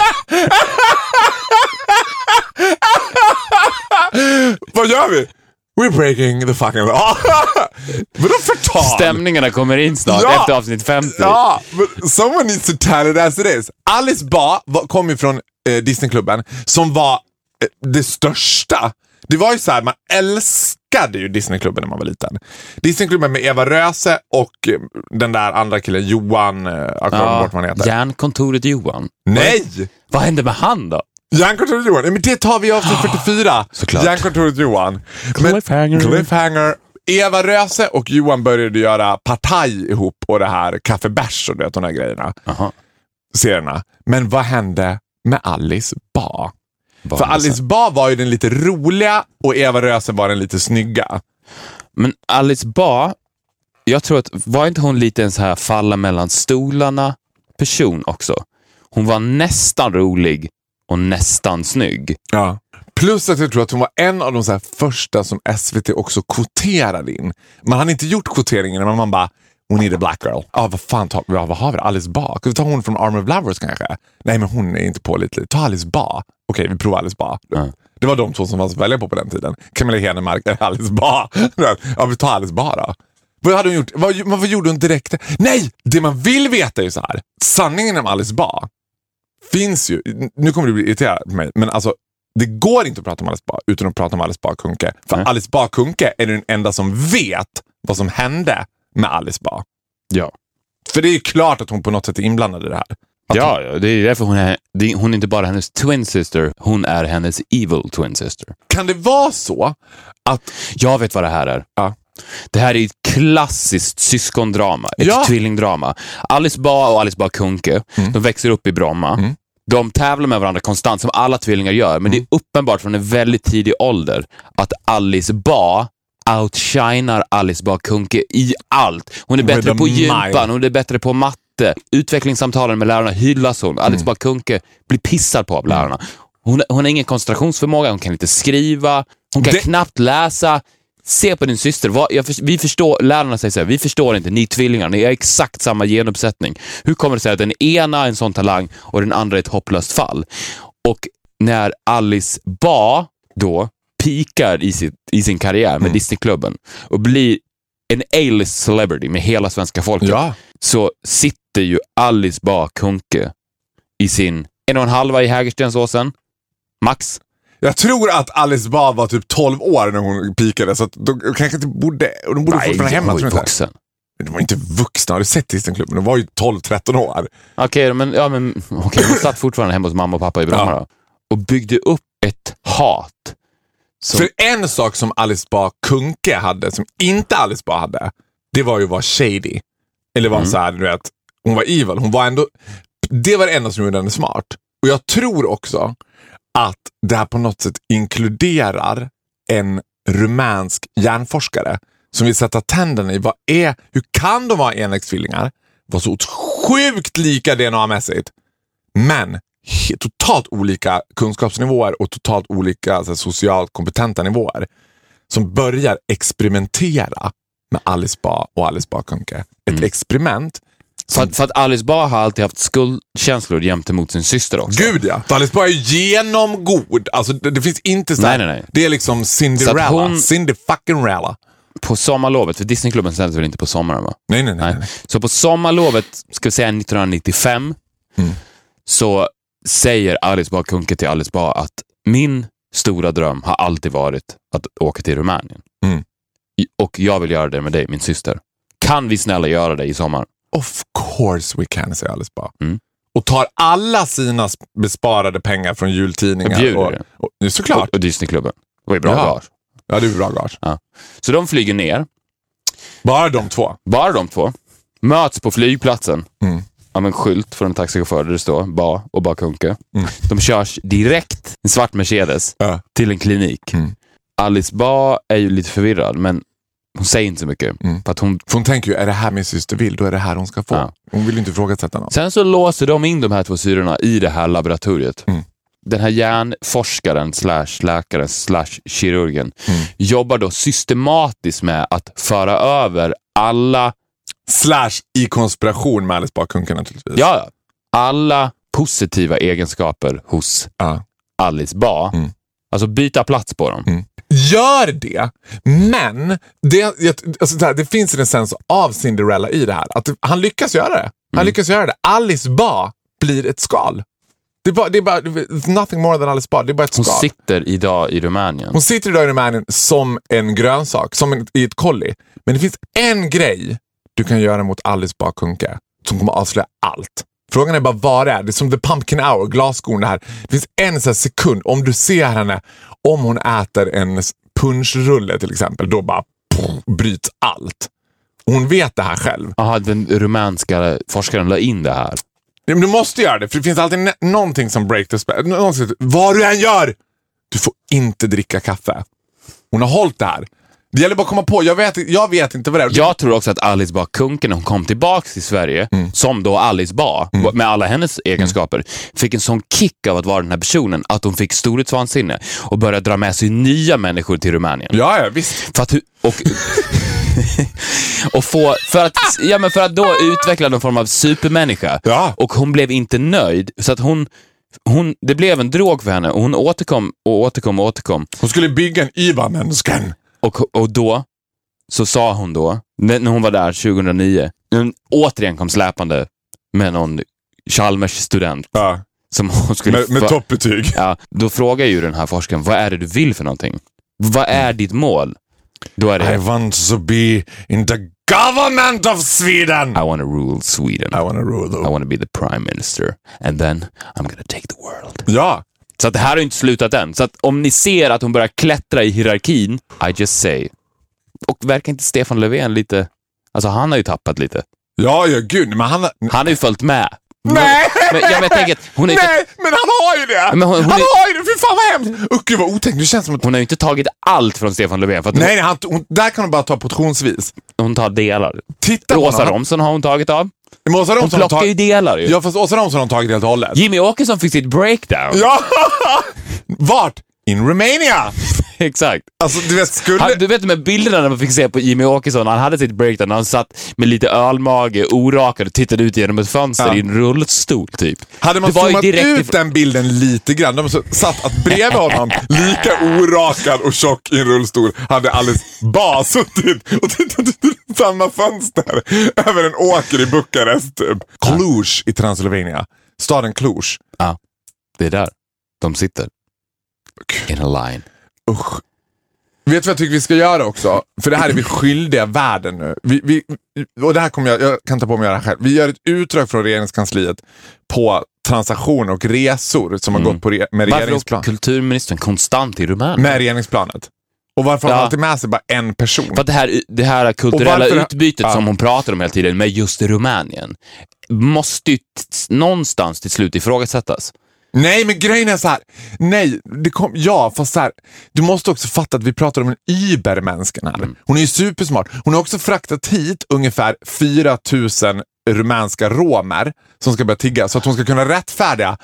S3: Vad gör vi? We're breaking the fucking law. Vadå förtal?
S2: Stämningarna kommer in snart
S3: Ja.
S2: efter avsnitt 50.
S3: Ja, but someone needs to tell it as it is. Alice Ba var- kom ju från eh, Disneyklubben som var eh, det största. Det var ju så här, man älskade ju Disneyklubben när man var liten. Disneyklubben med Eva Röse och eh, den där andra killen, Johan, eh, jag kommer
S2: Ja,
S3: bort vad han heter.
S2: Järnkontoret Johan.
S3: Nej!
S2: Vad hände med han då?
S3: Järnkontoret Johan, Nej, men det tar vi i avsnitt 44.
S2: Såklart.
S3: Järnkontoret Johan.
S2: Cliffhanger.
S3: Mm. cliffhanger. Eva Röse och Johan började göra partaj ihop och det här Kaffe Bärs och du vet, de här grejerna,
S2: Aha.
S3: serierna. Men vad hände med Alice Ba?
S2: Vad
S3: För
S2: hände sen?
S3: Alice Ba var ju den lite roliga och Eva Röse var den lite snygga.
S2: Men Alice Ba, jag tror att, var inte hon lite en så här falla mellan stolarna person också? Hon var nästan rolig och nästan snygg.
S3: Ja. Plus att jag tror att hon var en av de så här första som SVT också kvoterade in. Man hade inte gjort kvoteringen, men man bara We need a black girl. Ja, vad fan tar vi? Ja, vad har vi? Alice Bah? Ska vi ta hon från Arm of Lovers kanske? Nej, men hon är inte pålitlig. Ta Alice Bah. Okej, vi provar Alice Bah. Det var de två som fanns att välja på på den tiden. Camilla Henemark eller Alice Bah. Ja, vi tar Alice Bah då. Vad hade hon gjort? Vad, vad vad gjorde hon direkt? Nej! Det man vill veta är ju så här. Sanningen om Alice Bah finns ju. Nu kommer du bli irriterad på mig, men alltså det går inte att prata om Alice Bah utan att prata om Alice Bah Kuhnke. För
S2: Nej.
S3: Alice Bah Kuhnke är den enda som vet vad som hände med Alice Bah.
S2: Ja.
S3: För det är ju klart att hon på något sätt är inblandad i det här. Att
S2: Ja, ja, det är därför hon är, det- hon är inte bara hennes twin sister, hon är hennes evil twin sister.
S3: Kan det vara så att...
S2: Jag vet vad det här är.
S3: Ja.
S2: Det här är ett klassiskt syskondrama, ett
S3: Ja. Mm.
S2: tvillingdrama. Alice Bah och Alice Bah Kuhnke, de växer upp i Bromma. De tävlar med varandra konstant, som alla tvillingar gör, men
S3: Mm.
S2: det är uppenbart från en väldigt tidig ålder att Alice Bah outshinar Alice Bah Kuhnke i allt. Hon är
S3: är
S2: bättre
S3: the
S2: på
S3: mile.
S2: gympan, hon är bättre på matte. Utvecklingssamtalen med lärarna hyllas hon. Alice Bah Kuhnke blir pissad på av lärarna. Hon, hon har ingen koncentrationsförmåga, hon kan inte skriva, hon kan
S3: Det-
S2: knappt läsa. Se på din syster. Vad, jag, förs- vi förstår, lärarna säger så här, vi förstår inte, ni är tvillingar, ni har exakt samma genuppsättning. Hur kommer det sig att den ena är en sån talang och den andra är ett hopplöst fall? Och när Alice Ba då pikar i, sitt, i sin karriär med Disneyklubben och blir en A-list celebrity med hela svenska folket, så sitter ju Alice Bah Kuhnke i sin en och en halva i Hägerstensåsen, max.
S3: Jag tror att Alice Bah var typ 12 år när hon pikade, så att de kanske inte borde... Och de borde fortfarande hemma,
S2: hon
S3: tror
S2: är
S3: jag inte.
S2: vuxen.
S3: Men de var inte vuxna, har du sett Disneyklubben? De var ju 12-13 år.
S2: Okej, men, ja, men, okej, hon satt fortfarande hemma hos mamma och pappa i Bromma
S3: Ja.
S2: då, och byggde upp ett hat. Som,
S3: För en sak som Alice Bah Kuhnke hade, som inte Alice Bah hade, det var ju att vara shady. Eller var så här, du vet, hon var evil. Hon var ändå, det var det enda som gjorde henne smart. Och jag tror också att det här på något sätt inkluderar en rumänsk hjärnforskare som vill sätta tänderna i vad är, hur kan de vara enäggstvillingar? Var så sjukt lika DNA-mässigt. Men he- totalt olika kunskapsnivåer och totalt olika så här, socialt kompetenta nivåer som börjar experimentera med Alice Bah och Alice Bah Kuhnke. Ett experiment.
S2: för, att, för att Alice Bah har alltid haft skuldkänslor gentemot sin syster också.
S3: Gud ja! För Alice Bah är genomgod. Alltså, det, det finns inte så här,
S2: Nej, nej, nej.
S3: Det är liksom Cinderella.
S2: Så att hon-
S3: Cindy fucking Rella.
S2: På sommarlovet, för Disneyklubben sänds väl inte på sommaren va?
S3: Nej, nej, nej.
S2: Nej. Så på sommarlovet, ska vi säga 1995, Mm. så säger Alice Bah Kuhnke till Alice Bah att min stora dröm har alltid varit att åka till Rumänien.
S3: Mm.
S2: I- Och jag vill göra det med dig, min syster. Kan vi snälla göra det i sommar?
S3: Of course we can, säger Alice Bah.
S2: Mm.
S3: Och tar alla sina sp- besparade pengar från
S2: Jag
S3: jultidningar.
S2: bjuder
S3: Och,
S2: det.
S3: och, och, såklart.
S2: Och Disneyklubben. Det var ju bra
S3: Ja.
S2: gage.
S3: Ja, det är bra gage.
S2: Så de flyger ner,
S3: Bara de två.
S2: bara de två, möts på flygplatsen
S3: Mm.
S2: av en skylt från en taxichaufför där det står Bah och Bah Kuhnke. De körs direkt, en svart Mercedes,
S3: Mm. Ja.
S2: till en klinik.
S3: Mm.
S2: Alice Bah är ju lite förvirrad, men hon säger inte så mycket.
S3: Mm.
S2: För att hon...
S3: För hon tänker ju, är det här min syster vill, då är det här hon ska få.
S2: Ja.
S3: Hon vill ju inte ifrågasätta någon.
S2: Sen så låser de in de här två syrorna i det här laboratoriet.
S3: Mm.
S2: Den här hjärnforskaren slash läkaren slash kirurgen
S3: Mm.
S2: jobbar då systematiskt med att föra över alla
S3: Slash i konspiration med Alice Bah Kuhnke naturligtvis.
S2: Ja, ja. alla positiva egenskaper hos
S3: Ja.
S2: Alice Bah.
S3: Mm.
S2: Alltså byta plats på dem.
S3: Gör det, men det, jag- alltså det, här, det finns en essens av Cinderella i det här. Att han lyckas göra det. Han lyckas göra det. Alice Bah blir ett skal. Det är bara, det är bara it's nothing more than Alice Bah. Det är bara ett
S2: Hon
S3: skal.
S2: sitter idag i Rumänien.
S3: Hon sitter idag i Rumänien som en grönsak, som en, i ett kolli. Men det finns en grej du kan göra mot Alice Bah Kuhnke som kommer avslöja allt. Frågan är bara vad det är. Det är som the pumpkin hour, glasskon det här. Det finns en så här sekund, om du ser henne, om hon äter en s- punschrulle till exempel, då bara pff, bryts allt. Hon vet det här själv.
S2: Aha, den rumänska forskaren la in det här.
S3: Ja, men du måste göra det, för det finns alltid nä- någonting som break the spell. Någonsin, vad du än gör! Du får inte dricka kaffe. Hon har hållit det här. Det gäller bara att komma på. Jag vet, jag vet inte vad det är.
S2: Jag tror också att Alice Bah Kuhnke, när hon kom tillbaka till Sverige,
S3: Mm.
S2: som då Alice Bah, med alla hennes egenskaper, fick en sån kick av att vara den här personen att hon fick storhetsvansinne och började dra med sig nya människor till Rumänien.
S3: Ja, ja, visst.
S2: För att, hu- och, och få, för att, ja men för att då utveckla någon form av supermänniska.
S3: Ja.
S2: Och hon blev inte nöjd, så att hon, hon, det blev en drog för henne och hon återkom och återkom och återkom.
S3: Hon skulle bygga en IBA-människan.
S2: Och, och då så sa hon då, när när hon var där 2009, när hon återigen kom släpande med någon Chalmers-student
S3: Ja.
S2: som hon skulle...
S3: Med, med
S2: få-
S3: toppbetyg.
S2: ja, då frågar ju den här forskaren, vad är det du vill för någonting? Vad
S3: Mm.
S2: är ditt mål? Då är det,
S3: I want to be in the government of Sweden!
S2: I wanna rule Sweden.
S3: I wanna rule the
S2: I wanna be the prime minister. And then I'm gonna take the world.
S3: Ja,
S2: Så att det här har ju inte slutat än. Så att om ni ser att hon börjar klättra i hierarkin, I just say. Och verkar inte Stefan Löfven lite... Alltså han har ju tappat lite.
S3: ja, ja gud. Men han,
S2: Han har ju följt med.
S3: Nej!
S2: Men, ja, men jag tänker att hon har, ju inte,
S3: Nej, men han har ju det!
S2: Men hon- hon
S3: han
S2: är-
S3: har ju det! Fy fan vad hemskt! Usch, gud vad otäckt. Det känns som att...
S2: hon har ju inte tagit allt från Stefan Löfven. För att
S3: Nej, nej han, hon, där kan hon bara ta portionsvis.
S2: hon, hon tar delar.
S3: Titta på
S2: Rosa
S3: honom.
S2: Romson har hon tagit av.
S3: Men Åsa
S2: Hon
S3: Romson har
S2: plockar ju
S3: tagit...
S2: delar ju.
S3: Ja, fast Åsa Romson har tagit helt och hållet.
S2: Jimmy Åkesson fick sitt breakdown.
S3: Ja! Vart? In Romania!
S2: Exakt.
S3: Alltså, du vet, skulle...
S2: Han, du vet de här bilderna när man fick se på Jimmy Åkesson, han hade sitt breakdown när han satt med lite ölmage, orakad och tittade ut genom ett fönster
S3: Ja.
S2: i en rullstol typ.
S3: Hade man
S2: Det var ju
S3: zoomat ut
S2: direkt ifrån-
S3: den bilden lite grann, de så- satt att bredvid honom, lika orakad och tjock i en rullstol, hade Alice Bah suttit och tittat ut i samma fönster över en åker i Bukarest. Typ. Cluj i Transylvania. Staden Cluj.
S2: Det är där de sitter. In a line.
S3: Usch. Vet du vad jag tycker vi ska göra också? För det här är vi skyldiga världen nu. Vi, vi, och det här kommer jag, jag kan ta på mig att göra det själv. Vi gör ett utdrag från regeringskansliet på transaktioner och resor som har gått på re, med
S2: Mm. Varför åker
S3: regeringsplan.
S2: kulturministern konstant till Rumänien?
S3: Med regeringsplanet. Och varför har
S2: Ja.
S3: man alltid med sig bara en person?
S2: För att det här, det här kulturella
S3: Och varför-
S2: utbytet
S3: Ja.
S2: som hon pratar om hela tiden med just Rumänien måste ju t- någonstans till slut ifrågasättas.
S3: Nej, men grejen är så här. Nej, det kom, ja, fast så här. Du måste också fatta att vi pratar om en übermänskan här.
S2: Mm.
S3: Hon är ju supersmart. Hon har också fraktat hit ungefär 4 000 rumänska romer som ska börja tigga så att hon ska kunna rättfärdiga.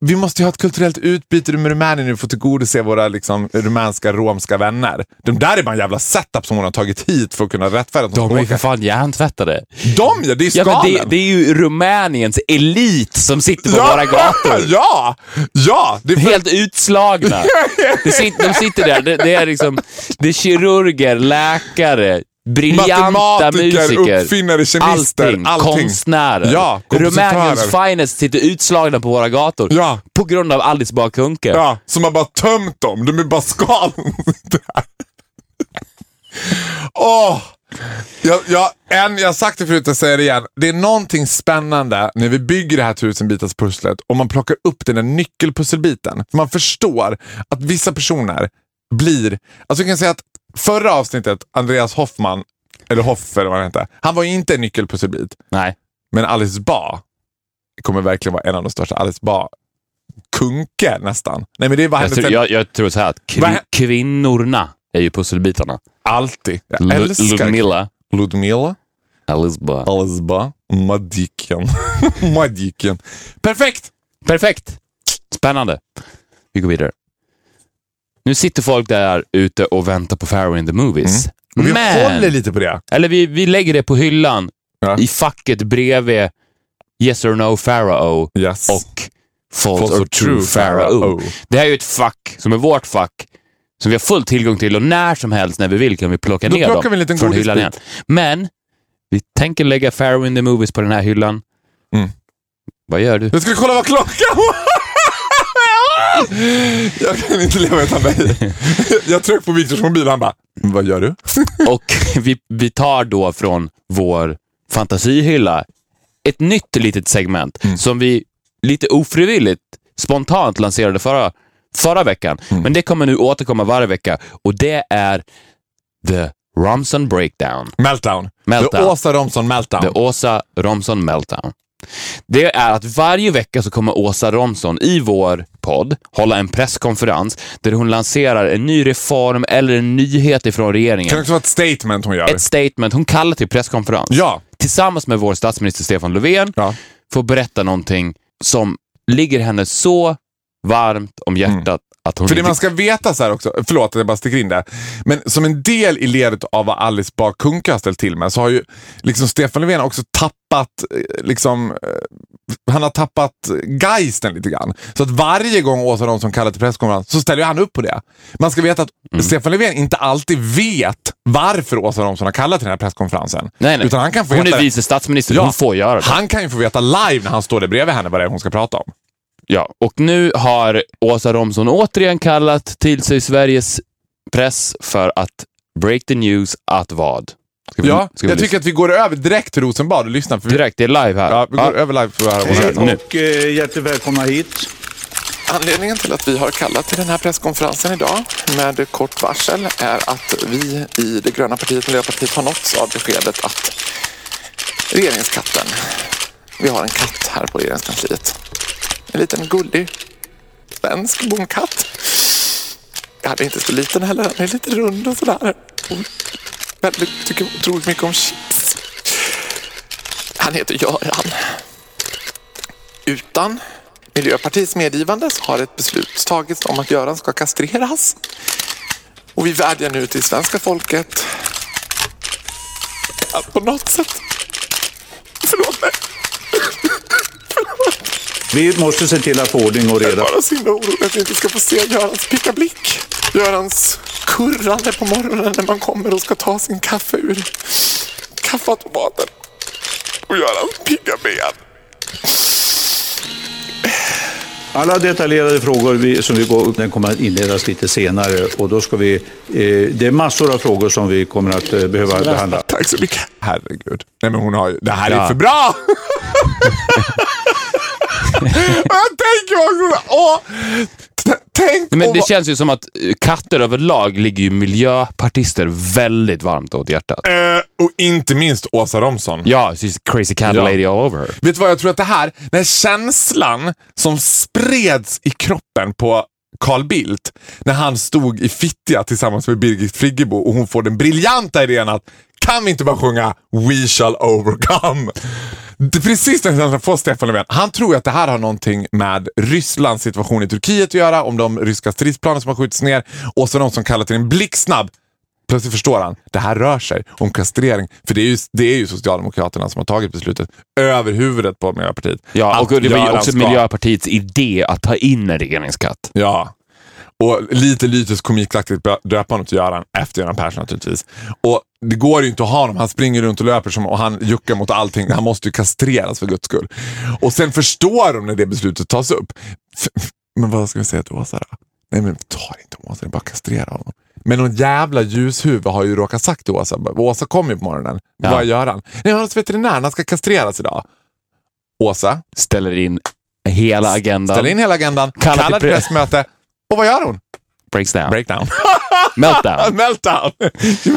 S3: Vi måste ju ha ett kulturellt utbyte med Rumänien nu för att tillgodose våra liksom, rumänska romska vänner. De där är bara en jävla setup som hon har tagit hit för att kunna rättfärdiga. att hon ska
S2: De är ju
S3: åka.
S2: för fan hjärntvättade.
S3: De ja, det är
S2: Ja,
S3: skalen.
S2: men det, det är ju Rumäniens elit som sitter på våra gator.
S3: Ja, ja. Det är för...
S2: Helt utslagna. Det sit, de sitter där. Det, det, är liksom, det är kirurger, läkare, briljanta
S3: Matematiker,
S2: musiker.
S3: uppfinnare, kemister, allting.
S2: Konstnärer.
S3: Ja, kompositörer.
S2: Rumäniens finest sitter utslagna på våra gator.
S3: Ja.
S2: På grund av Alice Bah Kuhnke.
S3: Ja, som har bara tömt dem. De är bara skal. Där. Åh! Jag, jag, en, jag har sagt det förut, jag säger det igen. Det är någonting spännande när vi bygger det här tusenbitarspusslet och man plockar upp den där nyckelpusselbiten. Man förstår att vissa personer blir... Alltså jag kan säga att förra avsnittet, Andreas Hoffman, eller Hoff eller vad han hette, han var ju inte en nyckelpusselbit.
S2: Nej.
S3: Men Alice Ba kommer verkligen vara en av de största. Alice Ba Kunke nästan. Nej men det är vad
S2: Jag
S3: hennes...
S2: tror, jag, jag tror så här att
S3: Vad
S2: kvi,
S3: hä-
S2: kvinnorna är ju pusselbitarna.
S3: Alltid. Jag
S2: Lu-
S3: älskar
S2: Ludmilla,
S3: Ludmilla.
S2: Alice Bah.
S3: Alice Ba. Madicken. Madicken. Perfekt!
S2: Perfekt! Spännande. Vi går vidare. Nu sitter folk där ute och väntar på Farrow in the Movies.
S3: Mm. Och vi håller
S2: Men,
S3: lite på det.
S2: eller vi, vi lägger det på hyllan
S3: Ja.
S2: i facket bredvid Yes or No Pharaoh
S3: Yes.
S2: och False, or True Pharaoh.
S3: Pharaoh.
S2: Det här är ju ett fack som är vårt fack som vi har full tillgång till och när som helst när vi vill kan vi plocka
S3: Då
S2: ner
S3: plockar
S2: dem
S3: vi en liten
S2: från
S3: godisbit.
S2: hyllan igen. Men vi tänker lägga Pharaoh in the Movies på den här hyllan.
S3: Mm.
S2: Vad gör du?
S3: Jag skulle kolla vad klockan var. Jag kan inte leva utan dig. Jag tryckte på Viktors mobil han bara, vad gör du?
S2: Och vi, vi tar då från vår fantasihylla ett nytt litet segment som vi lite ofrivilligt, spontant lanserade förra, förra veckan. Men det kommer nu återkomma varje vecka och det är The Romson Breakdown.
S3: Meltdown.
S2: Meltdown.
S3: Det är Åsa Romson Meltdown.
S2: The Åsa Romson Meltdown. Det är att varje vecka så kommer Åsa Romson i vår podd hålla en presskonferens där hon lanserar en ny reform eller en nyhet ifrån
S3: Det kan
S2: regeringen.
S3: också vara ett statement hon gör.
S2: Ett statement. Hon kallar till presskonferens.
S3: Ja.
S2: Tillsammans med vår statsminister Stefan Löfven
S3: ja.
S2: får berätta någonting som ligger henne så varmt om hjärtat att hon
S3: Mm. För det
S2: inte
S3: man ska veta så här också, förlåt att jag bara sticker in där, men som en del i ledet av vad Alice Bah Kuhnke har ställt till med så har ju liksom Stefan Löfven också tappat, eh, liksom, eh, han har tappat geisten lite grann. Så att varje gång Åsa Romson kallar till presskonferens så ställer ju han upp på det. Man ska veta att
S2: Mm.
S3: Stefan Löfven inte alltid vet varför Åsa Romson har kallat till den här presskonferensen.
S2: Nej, nej.
S3: Utan han kan få
S2: hon
S3: veta
S2: är
S3: det-
S2: vice statsminister, hon får göra det.
S3: Han kan ju få veta live när han står där bredvid henne vad det är hon ska prata om.
S2: Ja, och nu har Åsa Romson återigen kallat till sig Sveriges press för att break the news att vad? Ska vi-
S3: Ja,
S2: Mm, ska vi
S3: jag tycker
S2: lyssna?
S3: att vi går över direkt till Rosenbad och lyssnar. För vi,
S2: Direkt, det är live här.
S3: ja, vi går över live för det här.
S2: Hej.
S3: avsnittet.
S2: Nu.
S5: och eh, hjärtligt välkomna hit.
S6: Anledningen till att vi har kallat till den här presskonferensen idag med kort varsel är att vi i det gröna partiet Miljöpartiet har nåtts av beskedet att regeringskatten, vi har en katt här på regeringskansliet, en liten gullig svensk bonkatt. Ja, den är inte så liten heller, den är lite rund och sådär. Och Väldigt, tycker otroligt mycket om chips. Han heter Göran. Utan Miljöpartiets medgivande så har ett beslut tagits om att Göran ska kastreras. Och vi vädjar nu till svenska folket att på något sätt... Förlåt mig,
S5: Vi måste se till att få ordning och
S6: jag är
S5: reda.
S6: bara så himla orolig att vi inte ska få se Görans picka blick. Görans kurrande på morgonen när man kommer och ska ta sin kaffe ur kaffeautomaten. Och Görans pigga ben.
S5: Alla detaljerade frågor vi, som vi går upp, den kommer att inledas lite senare och då ska vi, eh, det är massor av frågor som vi kommer att eh, behöva behandla.
S3: Tack så mycket. Herregud. Nej, men hon har ju, det här är
S2: Ja.
S3: för bra! Och jag tänker också så här, åh, t- tänk
S2: Men
S3: om...
S2: det känns ju som att eh, katter överlag ligger ju miljöpartister väldigt varmt åt hjärtat.
S3: Eh, och inte minst Åsa Romson.
S2: Ja, she's crazy cat
S3: Ja.
S2: lady all over her.
S3: Vet du vad jag tror att det här, den här känslan som spreds i kroppen på Carl Bildt när han stod i Fittja tillsammans med Birgit Friggebo och hon får den briljanta idén att kan vi inte bara sjunga We shall overcome? Det är precis den känslan får Stefan Löfven. Han tror ju att det här har någonting med Rysslands situation i Turkiet att göra, om de ryska stridsplanen som har skjutits ner och så någon som kallar till en blixtsnabb Plötsligt förstår han, det här rör sig om kastrering. För det är ju, det är ju Socialdemokraterna som har tagit beslutet över huvudet på Miljöpartiet.
S2: Ja, och
S3: Att
S2: det var ju
S3: Göran
S2: också
S3: ska-
S2: Miljöpartiets idé att ta in en regeringskatt.
S3: Ja. Och lite lytisk komikaktigt bör- döpa honom till Göran, efter Göran Persson naturligtvis. Och det går ju inte att ha honom, han springer runt och löper som, och han juckar mot allting. Han måste ju kastreras för guds skull. Och sen förstår de när det beslutet tas upp. F- Men vad ska vi säga till Åsa då? Nej men ta inte Åsa, det är bara att kastrera honom. Men någon jävla ljushuvud har ju råkat sagt till Åsa, Åsa kom ju på morgonen,
S2: Ja.
S3: vad gör han? Nej, han är hos veterinären, han ska kastreras idag. Åsa,
S2: Ställer in hela agendan.
S3: ställer in hela agendan,
S2: Kallar till
S3: kallar till
S2: pre-
S3: pressmöte och vad gör hon?
S2: Breaks down.
S3: Breakdown.
S2: Meltdown.
S3: Meltdown.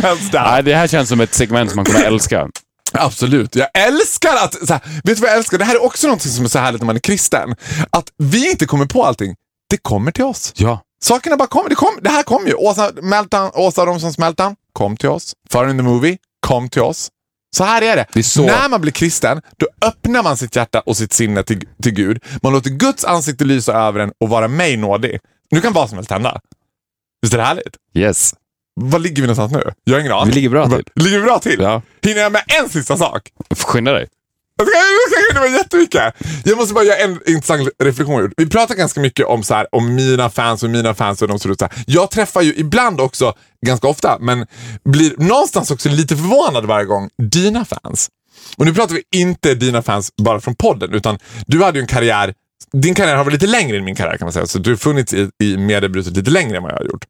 S3: Meltdown.
S2: Nej, det här känns som ett segment som man kommer älska.
S3: Absolut. Jag älskar att, så här, vet du vad jag älskar? Det här är också någonting som är så härligt när man är kristen. Att vi inte kommer på allting. Det kommer till oss.
S2: Ja.
S3: Sakerna bara kommer. Det, kom, det här kom ju. Åsa, meltdown, Åsa Romsons Meltdown kom till oss. Far in the movie kom till oss. Så här är det.
S2: Det är så-
S3: När man blir kristen, då öppnar man sitt hjärta och sitt sinne till, till Gud. Man låter Guds ansikte lysa över en och vara mig nådig. Nu kan vad som helst hända. Visst är det härligt?
S2: Yes.
S3: Vad ligger vi någonstans nu? Jag har ingen aning.
S2: Vi ligger bra till.
S3: Ligger vi bra till?
S2: Ja.
S3: Hinner jag med en sista sak?
S2: Skynda dig.
S3: Jag ska- jag ska hinna med jättemycket. Jag måste bara göra en intressant reflektion. Vi pratar ganska mycket om, så här, om mina fans och mina fans och de ser ut så här. Jag träffar ju ibland också, ganska ofta, men blir någonstans också lite förvånad varje gång, dina fans. Och nu pratar vi inte dina fans bara från podden, utan du hade ju en karriär, din karriär har varit lite längre än min karriär kan man säga, så du har funnits i, i mediebruset lite längre än vad jag har gjort.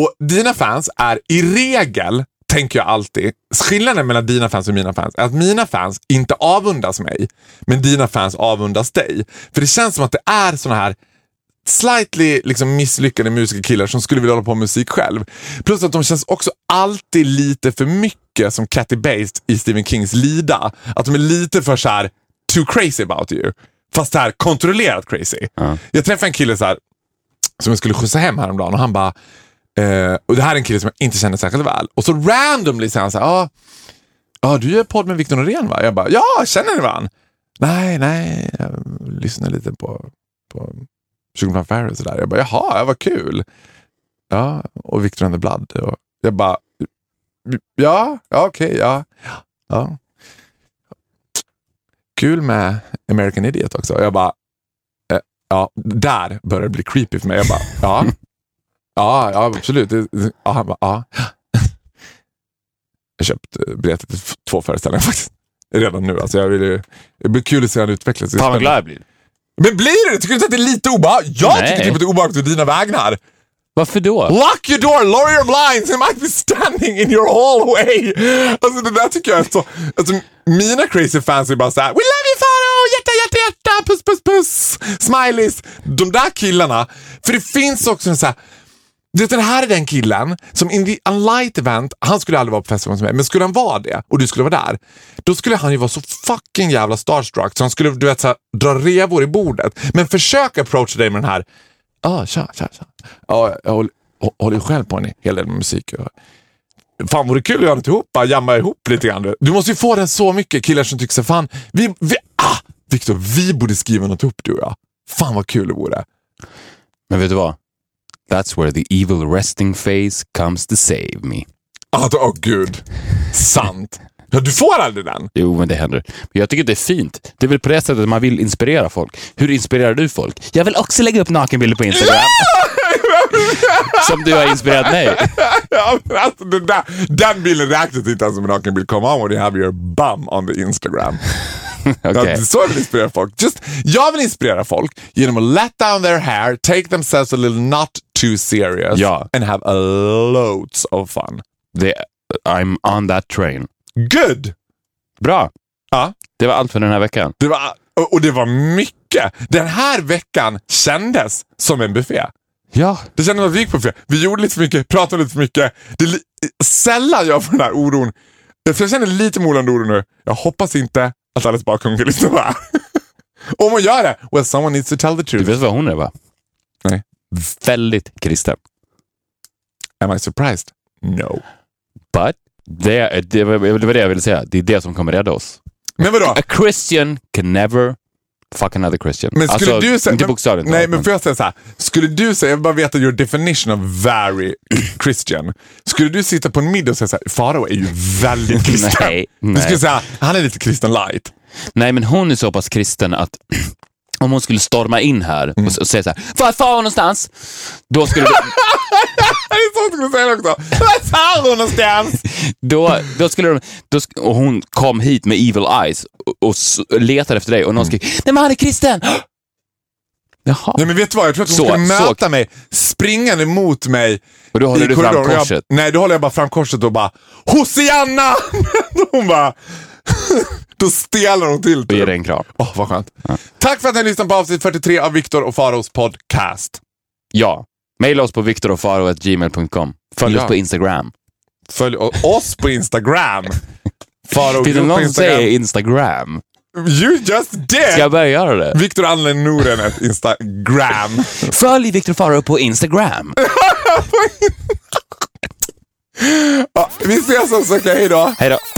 S3: Och dina fans är i regel, tänker jag alltid, skillnaden mellan dina fans och mina fans är att mina fans inte avundas mig, men dina fans avundas dig. För det känns som att det är sådana här slightly liksom misslyckade musikerkillar som skulle vilja hålla på med musik själv. Plus att de känns också alltid lite för mycket som Katty Bates i Stephen Kings Lida. Att de är lite för så här too crazy about you. Fast det här kontrollerat crazy.
S2: Ja.
S3: Jag träffade en kille så här, som jag skulle skjutsa hem häromdagen och han bara, eh, och det här är en kille som jag inte känner särskilt väl. Och så randomly säger han så här, ah, ja du gör podd med Victor Norén va? Jag bara, ja känner ni varandra? Nej, nej, jag lyssnar lite på, på 25 Ferry och sådär. Jag bara, jaha, ja, vad kul. Ja, och Victor and the Blood. Och jag bara, ja, ja okej, ja. ja. Kul med American Idiot också. Och jag bara, eh, ja, där börjar det bli creepy för mig. Jag bara, ja, ja, ja absolut. Det- Ja, han bara, ja. Jag har köpt eh, biljetter till f- två föreställningar faktiskt. Redan nu. Alltså, jag vill ju, det blir kul att se hur han utvecklas. Det är
S2: Fan
S3: spännande.
S2: vad glad jag blir.
S3: Men blir det? Tycker du inte att det är lite obehagligt? Jag
S2: Nej.
S3: tycker typ att det är obehagligt på dina vägnar.
S2: Varför då?
S3: Lock your door, lower your blinds, it might be standing in your hallway. Alltså det där tycker jag är så... Alltså, mina crazy fans är bara såhär, we love you Farao, hjärta, hjärta, hjärta, puss, puss, puss, smileys. De där killarna, för det finns också en såhär, du vet den här är den killen som in the unlight event, han skulle aldrig vara på festivalen som mig, men skulle han vara det och du skulle vara där, då skulle han ju vara så fucking jävla starstruck så han skulle du vet, så här, dra revor i bordet. Men försök approacha dig med den här, ja tja, tja, tja. Ja, jag håller, hå- håller ju själv på en hel del med musik. och- Fan vore kul att göra något ihop, bara jamma ihop lite grann. du. Du måste ju få den så mycket, killar som tycker så här, fan, vi, vi, ah, Viktor, vi borde skriva något ihop du och jag. Fan vad kul det vore.
S2: Men vet du vad? That's where the evil resting face comes to save me.
S3: Alltså, åh gud. Sant. Ja, du får aldrig den.
S2: Jo, men det händer. Men jag tycker det är fint. Det är väl på det sättet man vill inspirera folk. Hur inspirerar du folk? Jag vill också lägga upp nakenbilder på Instagram. Som du har inspirerat mig.
S3: Ja, men alltså, den, där, den bilden räknas inte ens som en nakenbild. Come on, you have your bum on the Instagram.
S2: Okej.
S3: Okay. Så jag vill inspirera folk. Just, jag vill inspirera folk genom att let down their hair, take themselves a little not too serious
S2: Ja.
S3: and have a loads of fun.
S2: Det- I'm on that train.
S3: Good!
S2: Bra.
S3: Ja.
S2: Det var allt för den här veckan.
S3: Det var, och och det var mycket. Den här veckan kändes som en buffé.
S2: Ja.
S3: Det kändes som att vi gick på fel. Vi gjorde lite för mycket, pratade lite för mycket. Det är li- sällan jag får den här oron. För jag känner lite molande oro nu. Jag hoppas inte att Alice Bakum vill lyssna på det här. Om hon gör det, well someone needs to tell the
S2: Du
S3: truth.
S2: vet vad hon är va?
S3: Nej.
S2: Väldigt kristen.
S3: Am I surprised? No.
S2: But det, är- det, var- det var det jag ville säga. Det är det som kommer rädda oss.
S3: Men vadå?
S2: A Christian can never fuck another Christian.
S3: Men skulle
S2: alltså,
S3: du säga...
S2: inte
S3: men-
S2: bokstavligt
S3: Nej,
S2: talat,
S3: men får jag säga så här. Skulle du säga, jag vill bara veta your definition of very Christian. Skulle du sitta på en middag och säga så här, Farao är ju väldigt kristen.
S2: Nej,
S3: Du
S2: nej.
S3: skulle säga, han är lite kristen light.
S2: Nej, men hon är så pass kristen att om hon skulle storma in här
S3: Mm.
S2: och, s- och säga så här, var far hon någonstans? Då skulle, du,
S3: Det är så jag skulle säga det också. Vad sa hon någonstans?
S2: då, då skulle de, då, sk- och hon kom hit med evil eyes och, och s- letade efter dig och någon skrek, nej men han är kristen! Jaha.
S3: Nej men vet du vad, jag tror att hon
S2: Så,
S3: skulle
S2: så-
S3: möta mig springande mot mig
S2: Och då håller
S3: i
S2: du fram
S3: korridoren. Jag-
S2: korset.
S3: Nej, då håller jag bara fram korset och bara Hosianna! hon bara... då stelar hon till
S2: Och ge
S3: typ.
S2: dig en kram.
S3: Åh, vad skönt. Tack för att ni lyssnade på avsnitt 43 av Viktor och Faros podcast.
S2: Ja. Maila oss på viktorofaro.gmail.com. Följ
S3: Ja.
S2: oss på Instagram.
S3: Följ o- oss på Instagram. Faro
S2: Finns det
S3: Group på
S2: någon som
S3: Instagram.
S2: säger Instagram?
S3: You just did!
S2: Ska jag börja göra det?
S3: Viktor använder Noren ett Instagram.
S2: Följ Viktor Faro på Instagram.
S3: Ja, Vi ses alltså, okej? Hej då!
S2: Hej då.